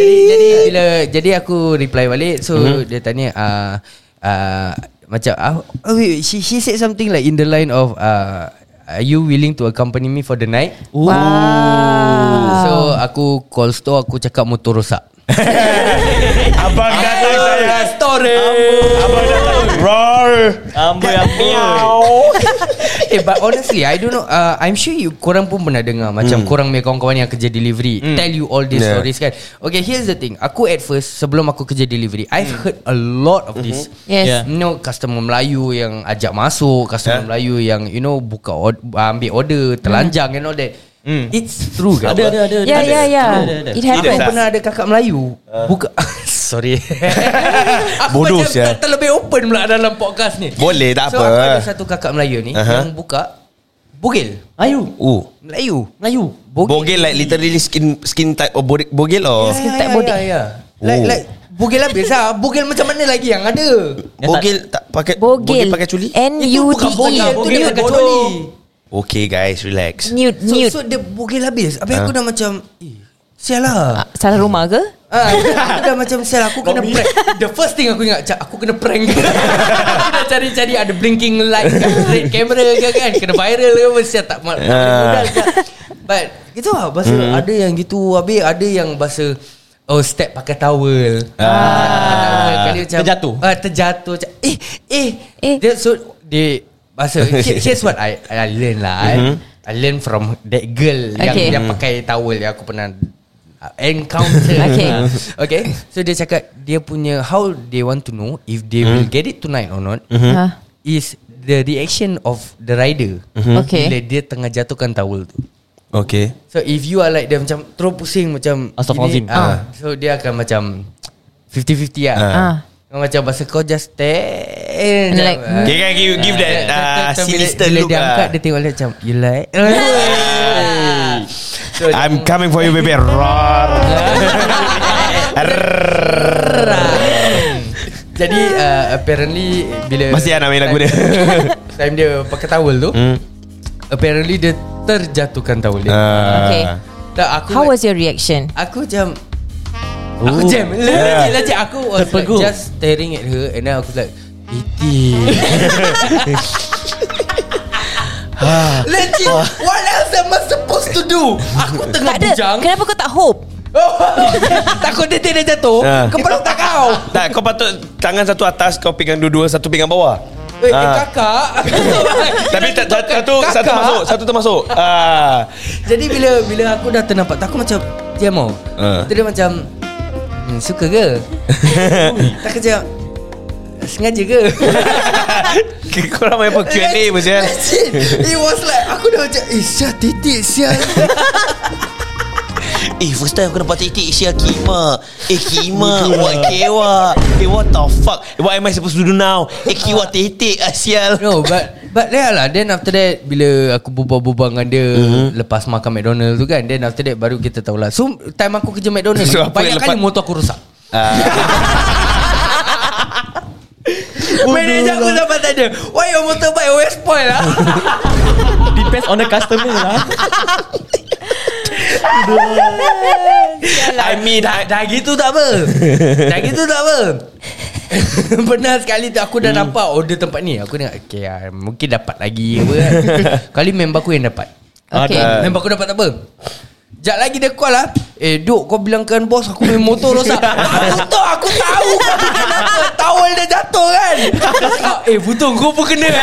jadi bila jadi aku reply balik so mm-hmm. dia tanya uh, uh, macam ah, oh, wait, wait, she she said something like in the line of uh, are you willing to accompany me for the night?
Wow.
So aku call store aku cakap motor rosak.
Abang datang saya.
story.
Abang datang. Roar.
Amboi amboi
eh but honestly I don't know uh, I'm sure you korang pun pernah dengar macam korang punya kawan-kawan yang kerja delivery tell you all these
Hmm. Yeah.
stories kan. Okay, here's the thing. Aku at first sebelum aku kerja delivery, I've
Hmm.
heard a lot of this.
Mm-hmm.
Yes.
Yeah.
You know customer Melayu yang ajak masuk,
Yeah.
customer
Hmm.
Melayu yang you know buka or- ambil order telanjang and all that. It's true
Ya,
kan?
Ada ada ada
Yeah,
ada.
yeah, yeah.
Ada, ada, ada.
It
Aku
happens.
pernah ada kakak Melayu Buka Sorry
Uh.
Aku
Bodoh
macam
sia.
ter- terlebih open pula dalam podcast ni
Boleh, tak
so,
apa.
So aku ada satu kakak Melayu ni
Aha.
Yang buka Bogil
Ayu
Oh
Melayu Melayu Bogil
Bogel like literally skin
oh,
skin type of body- bogel or
Skin type body.
ya, ya. Like,
Oh.
like Bogil habis lah Bogil macam mana lagi yang ada
Bogel tak pakai
Bogil.
pakai culi?
N
Itu
U D
bukan
E.
Bogil Itu dia pakai coli
Okay guys relax
Nude,
so,
nude.
so dia Bogil habis Habis
Ha?
aku dah macam Eh Sial lah
Ah, Salah rumah ke?
Ah, aku dah macam sial aku kena prank. The first thing aku ingat, "Cak, aku kena prank. aku dah cari-cari ada blinking light ke, red camera ke kan, kena viral ke apa sial tak mal. tak boleh
Ah.
modal, Cak. But gitu lah bahasa hmm. ada yang gitu, habis ada yang bahasa Oh step pakai towel ah. Kali macam,
Terjatuh.
ah, Terjatuh macam, Eh Eh
Eh.
Dia, So Dia Bahasa here- Here's what I I learn lah mm-hmm. I, I learn from That girl
Okay.
Yang, yang pakai towel Yang aku pernah uh, Encounter
Okay.
Okay So dia cakap Dia punya How they want to know If
Hmm.
they will get it tonight or not
Mm-hmm.
Ah,
Is the reaction of The rider
Hmm. Mm-hmm.
Okay.
Bila dia tengah jatuhkan towel tu
Okay
So if you are like Dia macam Terus pusing macam
Ah.
Astaghfirullahalazim.
ini, ah, So dia akan macam 50-50 lah
Ah.
Ah.
Kau macam bahasa kau just stand
Like,
je. Ah.
Dia kan give, give that
Tak,
uh,
tak, tak, bila-
sinister
bila
look
dia angkat
lah
dia tengok dia macam You like So
I'm coming for you baby Hmm. Roar
Jadi uh, apparently Bila
Masih lah nak main lagu dia Hmm.
Time dia pakai towel tu Apparently dia terjatuhkan towel dia
Ah.
Okay.
Tak aku
How was your reaction?
Aku macam Aku jam
Oh. Yeah.
Legit legit Aku was like
Terpegun.
just staring at her And then aku was like Iti
Ah.
Legit What else am I supposed to do Aku tengah
Tak ada
bujang
Kenapa kau tak hope?
Oh, Takut dia tidak jatuh
Ah.
Kepala tak kau
Tak kau patut Tangan satu atas Kau pegang dua-dua Satu pegang bawah
Eh, eh,
Ah.
kakak
Tapi tak- tak- satu Satu
Kakak.
masuk Satu termasuk Ah,
Jadi bila bila aku dah ternampak tu, Aku macam Diam tau
Ah.
uh. Dia macam hmm, Suka ke? tak kerja Sengaja ke?
Korang main apa Q&A pun sial
Legit. It was like Aku dah macam Eh sial titik sial
Eh first time aku nampak titik Sial kima Eh kima What kewa Eh what the fuck What am I supposed to do now Eh kiwa titik ah, Sial
No but But there lah Then after that Bila aku berbual-bual dengan dia mm-hmm. Lepas makan McDonald tu kan Then after that Baru kita tahu lah So time aku kerja McDonald
So,
so,
apa yang
Banyak kali
lepas-
motor aku rusak
Ah,
Manager
lah.
aku sampai tanya Why your motorbike always spoil lah
Depends on the customer lah
I mean I,
Dah gitu tak apa Dah gitu tak apa Pernah sekali tu aku dah hmm. dapat order tempat ni Aku tengok Okay ah, mungkin dapat lagi apa kan Kali member aku yang dapat
Okay.
uh. Member aku dapat tak apa Sekejap lagi dia call lah Eh Duk kau bilangkan bos aku punya motor rosak Aku tahu aku tahu kau bikin apa Towel dia jatuh kan Dia cakap, Eh Butung kau pun kena eh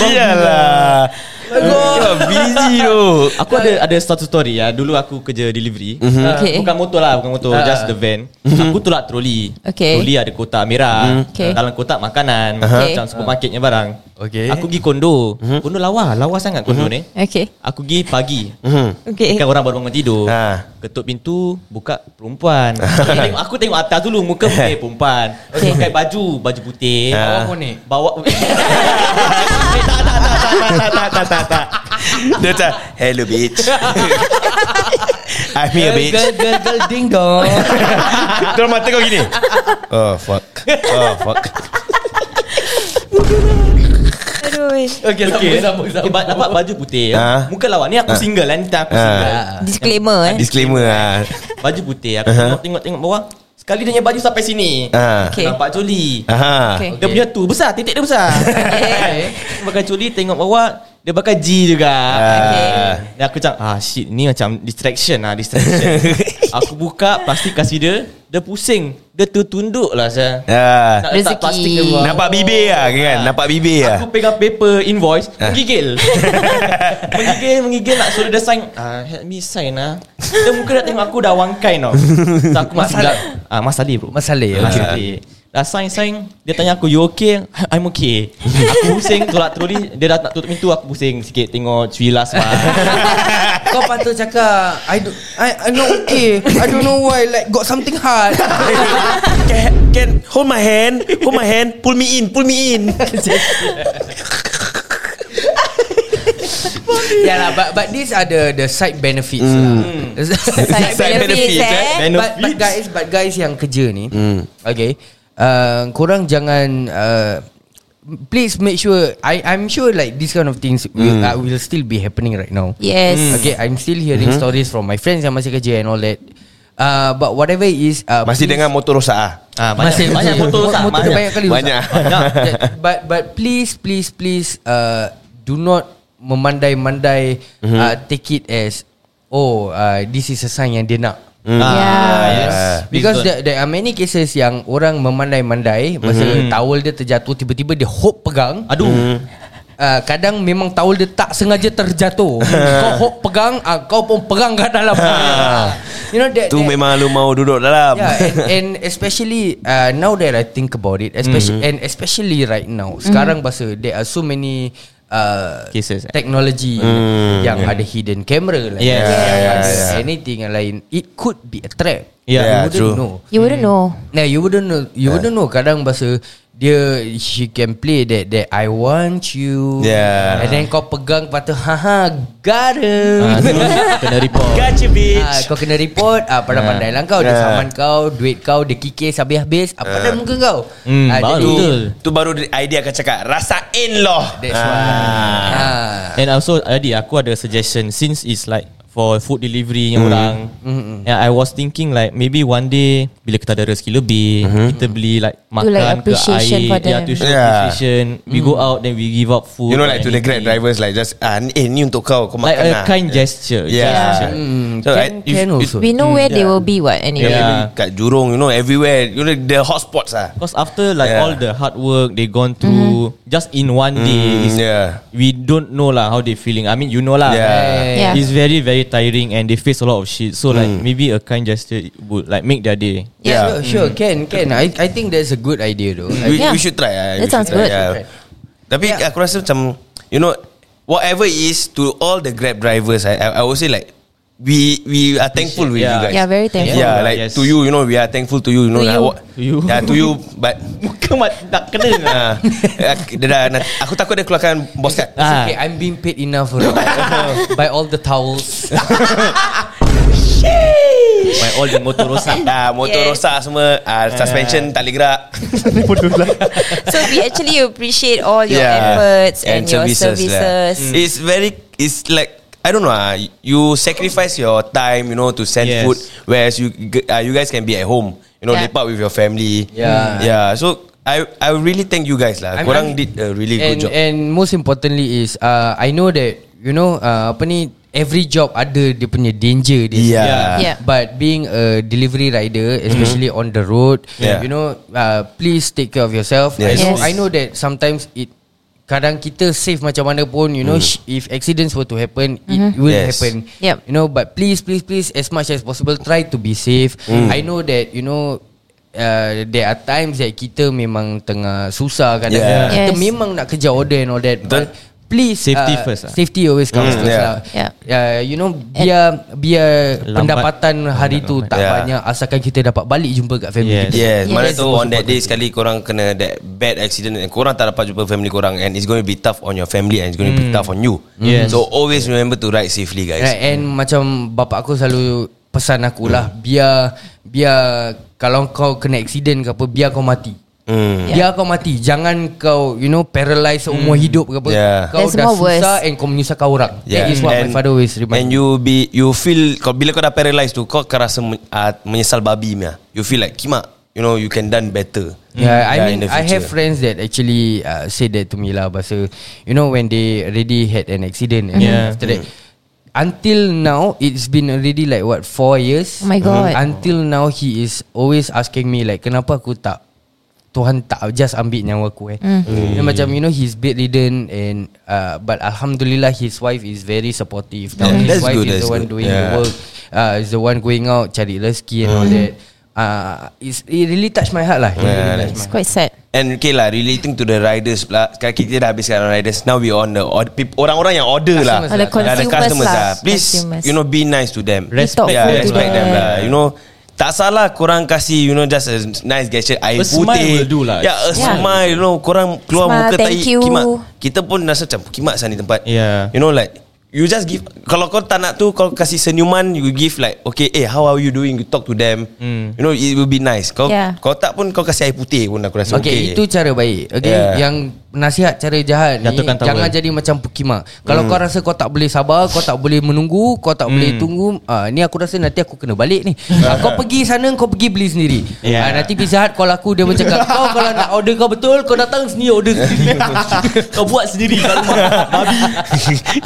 Sial lah Kau busy tu
Aku ada ada satu story ya. Dulu aku kerja delivery. Mm-hmm.
Okay.
Bukan motor lah, bukan motor,
Mhm. Ah.
just the van. Mm-hmm. Aku tolak troli.
Okay.
Troli ada kotak merah.
Mhm.
Mm.
Okay.
Dalam kotak makanan,
Okay.
macam supermarketnya barang.
Okay. Mhm.
Aku pergi kondo. Mm-hmm. Kondo lawa, lawa sangat kondo mm-hmm. ni.
Okay.
Aku pergi pagi.
Mhm.
Hmm.
Okay.
Kan orang baru bangun tidur.
Ha.
Ah.
Ketuk pintu, buka perempuan. aku, tengok, aku tengok atas dulu muka putih perempuan. Okay. Pakai baju, baju putih.
Bawa konek
Bawa Eh,
tak tak tak tak tak. Dia macam Hello bitch I'm here bitch
Girl girl girl ding dong
Terus mata kau gini Oh fuck Oh fuck
Aduh. eh.
Okay sambung
Eh,
sambung sambung
ba- dapat baju putih
Ah.
ya. Muka lawa Ni aku
Ah.
single kan Kita aku
Ah.
single
Ha. Disclaimer eh.
Disclaimer lah
Baju putih Aku
Aha.
tengok tengok-tengok bawah Sekali dia punya baju sampai sini
Ah.
Okay.
Nampak coli
Aha.
Okay.
Dia punya tu besar Titik dia besar Eh,
Okay.
Dia pakai coli Tengok bawah Dia pakai G juga
Okay.
Dan aku macam Ah shit Ni macam distraction lah Distraction Aku buka Plastik kasih dia Dia pusing Dia tertunduk lah saya
Ah.
Nak letak
Rezeki.
plastik Ha. dia keluar.
Nampak bibir lah kan Nampak bibir lah
Aku pegang paper invoice Menggigil Menggigil Menggigil nak suruh dia sign ah, Help me sign lah Dia muka dah tengok aku dah wangkai tau So aku masih dah ah, Mas Ali bro Mas
Masalah ya
Ali Dah sign-sign Dia tanya aku You okay? I'm okay Aku pusing Tolak troli Dia dah nak tutup pintu Aku pusing sikit Tengok cuy last part
Kau patut cakap I, do, I, I not okay I don't know why Like got something hard
Can, can hold my hand, hold my hand, pull me in, pull me in.
Yeah lah but, but these are the The side benefits mm. lah
Side benefits eh.
but, but guys But guys yang kerja ni mm. Okay uh, Korang jangan uh, Please make sure I, I'm sure like This kind of things will, uh, will still be happening right now
Yes.
Okay I'm still hearing mm-hmm. stories From my friends yang masih kerja And all that uh, But whatever it is uh,
Masih
please-
dengan motor rosak ah.
ah, Banyak,
Masih
banyak
betul.
foto rosak
Motor dia banyak kali
Banyak.
rosak. Banyak. but but please please please uh, do not memandai-mandai mm-hmm. uh, take it as oh uh, this is a sign yang dia nak.
Mm-hmm.
Yeah.
Ah, yes.
Because there, there are many cases yang orang memandai-mandai masa mm-hmm. towel dia terjatuh tiba-tiba dia hook pegang.
Aduh
Uh, kadang memang towel dia tak sengaja terjatuh. kau hook pegang, uh, kau pun pegang kat dalam. you know that,
Tu
that
memang lu mau duduk dalam
Yeah, and, and especially uh, now that I think about it, especially
Mm-hmm.
mm. and especially right now, sekarang bahasa there are so many uh,
Cases. eh.
technology yang ada hidden camera lah,
Yes.
yang
Mm, Yeah,
ada
yeah, yeah.
anything yang lain. It could be a trap.
Yeah,
you wouldn't
true.
know.
You
Hmm.
wouldn't know.
Nah, you wouldn't know. You wouldn't know. Kadang bahasa dia she can play that that I want you.
Yeah.
And then kau pegang patut haha got
Ah, tu
him.
Kena report
Gotcha
Ah,
bitch
kau kena report ah, Pada pandai lah kau Dia
Yeah.
saman kau Duit kau Dia kikis habis-habis Apa dah muka kau Ah,
Hmm, baru. Betul.
Tu baru idea akan cakap Rasain loh
That's why ah.
And also Adi aku ada suggestion Since it's like For food delivery
Mm.
yang orang yeah, I was thinking like Maybe one day Bila kita ada rezeki lebih Kita beli like Makan
like
ke
appreciation
air
for them.
yeah, to show
Mm-hmm. Yeah. Mm.
appreciation We go out Then we give out food
You know like
and
to the grab
anything.
drivers like just ah ni, eh, ni untuk kau kau
Like a
makan lah.
kind gesture
Yeah. Hmm, Mm. So
Mm, Can-
I, if-
can
if-
also.
We
Hmm.
know where they will be what anyway.
Yeah.
Kat Jurong you know everywhere you know the hotspots ah.
Because after like
Yeah.
all the hard work they gone through,
Mm-hmm.
just in one day,
Mm.
is,
yeah.
we don't know lah how they feeling. I mean, you know lah.
Yeah.
Yeah. Mm.
It's very very tiring and they face a lot of shit. So like maybe a kind gesture would like make their day.
Yeah. Hmm.
Sure, sure can can I I think that's a good idea though I
We,
Yeah.
we should try ah. We
That
should
sounds
try,
good.
yeah. Tapi aku rasa macam you know whatever it is to all the grab drivers I I, I would say like we we are thankful with you
yeah.
guys.
Yeah, very thankful.
Yeah,
Yeah,
like
yes.
to you, you know, we are thankful to you, you know.
To
like
you.
what-
To you.
Yeah, to you, but
Muka mat tak kena.
Ah, ak- dia dah, nak- aku takut dia keluarkan bos kat.
It's
Ah.
okay I'm being paid enough for By all the towels
My all the motor rosak.
Ah, motor
Yeah.
rosak semua, ah, suspension tak boleh gerak.
So we actually appreciate all your efforts and, your services.
lah. It's very It's like I don't know ah, You sacrifice your time You know To send
Yes.
food Whereas you g- ah, You guys can be at home You know
Yeah.
Lepak with your family
Yeah.
Yeah So I I really thank you guys lah
I'm-
Korang
I'm-
did a really
and,
good job
And most importantly is uh, I know that You know uh, Apa ni Every job ada Dia punya danger dia
Yeah.
Yeah.
lah. But being a delivery rider, especially on the road,
Mm-hmm. Yeah.
you know, uh, please take care of yourself. I
Yes.
know,
Yes.
I know that sometimes it kadang kita safe macam mana pun, you know, sh- if accidents were to happen, it will
Mm. Yes.
happen.
Mm-hmm. Yep.
You know, but please, please, please, as much as possible, try to be safe.
Mm.
I know that you know. Uh, there are times that kita memang tengah susah kadang
Yeah.
kita
Yes.
memang nak kerja order and all that
Betul.
but please
Safety
uh,
first lah.
safety always comes
Mm,
first
yeah.
lah
Yeah.
Uh, you know biar biar
Lambat.
pendapatan hari tu tak
Yeah.
banyak asalkan kita dapat balik jumpa kat family
Yes.
kita.
Ya. Yes,
Yes.
mana tu on that day sekali korang kena that bad accident and korang tak dapat jumpa family korang and it's going to be tough on your family and it's going to be tough on you.
Yes.
So always remember to ride safely guys.
Right, and macam bapak aku selalu pesan aku lah
Hmm.
biar biar kalau kau kena accident ke apa biar kau mati.
Hmm.
Biar kau mati Jangan kau You know Paralyzed seumur hidup ke apa
Yeah.
Kau
That's
dah
more worse.
susah And kau menyusahkan orang
Yeah.
That is what
and,
my father always
And
remind me
you be you feel kau bila kau dah paralyzed tu kau akan rasa men, uh, menyesal babi mia. You feel like kima, you know you can done better.
Mm. Yeah, I
in
mean,
the
I have
future.
friends that actually uh, say that to me lah. Bahasa, you know, when they already had an accident, and
Yeah.
after that, until now, it's been already like what four years. Mm-hmm.
Oh my God.
Until now, he is always asking me like, kenapa aku tak Tuhan tak just ambil nyawa aku eh.
Mm.
Dia macam you know he's bedridden and uh, but alhamdulillah his wife is very supportive. Now
Yeah,
his
that's
wife
good,
is the
that's
one
good.
doing the
Yeah.
work uh, is the one going out cari rezeki and all that. Uh, it's, it really touched my heart lah. It really
Yeah,
touched
that's-
It's quite sad.
And okay lah Relating to the riders pula Sekarang kita dah habiskan orang riders Now we on the or- peop- Orang-orang yang order lah
Customers
lah. Oh, the
Yeah, the
consumers
customers
lah.
lah Please
Consumers.
You know be nice to them
Be
Respect.
thoughtful
Yeah,
to
respect
them.
them lah. You know, tak salah korang kasih you know just a nice gesture
A
air putih.
smile will do lah.
Yeah, a
Yeah.
smile you know korang keluar
Smile,
muka tai
thank you.
kimak. Kita pun rasa macam kimak sana ni tempat.
Yeah.
You know like you just give kalau kau tak nak tu kau kasih senyuman you give like okay eh how are you doing you talk to them.
Hmm.
You know it will be nice. Kau
Yeah.
kau tak pun kau kasih air putih pun aku rasa
Okay,
okay.
itu cara baik. Okay,
Yeah.
yang nasihat cara jahat ni
Jatuhkan towel.
jangan jadi macam pukima. Kalau kau rasa kau tak boleh sabar, kau tak boleh menunggu, kau tak boleh tunggu, ah ni aku rasa nanti aku kena balik ni. Ah, kau pergi sana kau pergi beli sendiri.
Yeah.
Ah, nanti Pizza Hut call aku dia macam kau kalau nak order kau betul kau datang sini order sendiri.
Kau buat sendiri kat rumah.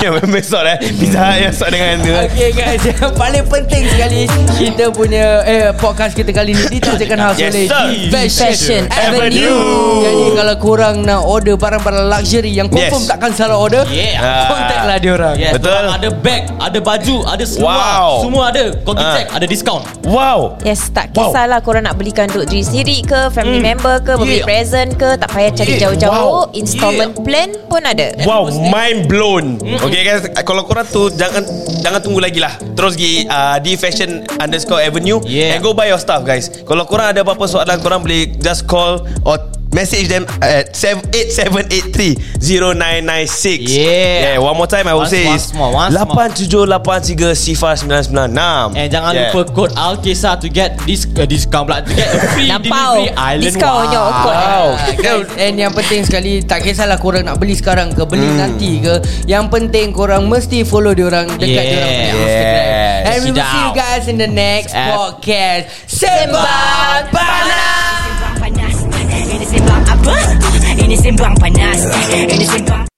yeah, besok eh. Pizza Hut yang sok dengan tu.
Okay guys Yang paling penting sekali Kita punya eh, Podcast kita kali ni Ditajakan khas
Yes,
oleh
sir.
Fashion
Fashion
Avenue Jadi kalau korang nak order barang-barang luxury yang confirm
Yes.
takkan salah order,
Yeah.
contact lah dia orang.
Yes,
Betul.
Betul. Ada bag, ada baju, ada seluar,
Wow.
semua ada. Kau pergi
Ah.
check, ada diskaun.
Wow. Mm.
Yes, tak kisahlah korang nak belikan untuk diri sendiri ke, family member ke, beli
Yeah.
present ke, tak payah cari
Yeah.
jauh-jauh.
Wow.
Installment plan pun ada.
Wow, mind blown.
Hmm.
Okay guys, kalau korang tu jangan jangan tunggu lagi lah. Terus pergi uh, di fashion underscore avenue
Yeah.
and go buy your stuff guys. Kalau korang ada apa-apa soalan, korang boleh just call or message them at 8783-0996.
Yeah.
yeah. One more time, I will
Once
say
more,
is
once more, once more.
8783 sifar 996.
And jangan yeah. lupa kod Alkisah to get dis uh, discount pula to get free
Lampau.
delivery island Ah,
Discount your code.
Wow. Guys, and yang penting sekali tak kisahlah korang nak beli sekarang ke beli hmm. nanti ke yang penting korang mesti follow diorang dekat
Yeah.
diorang punya
Yes.
Instagram and we will
Sedap.
see you guys in the next
Sedap.
podcast Sembang Panas
Ini sembang panas Ini sembang apa? Ini sembang panas Ini sembang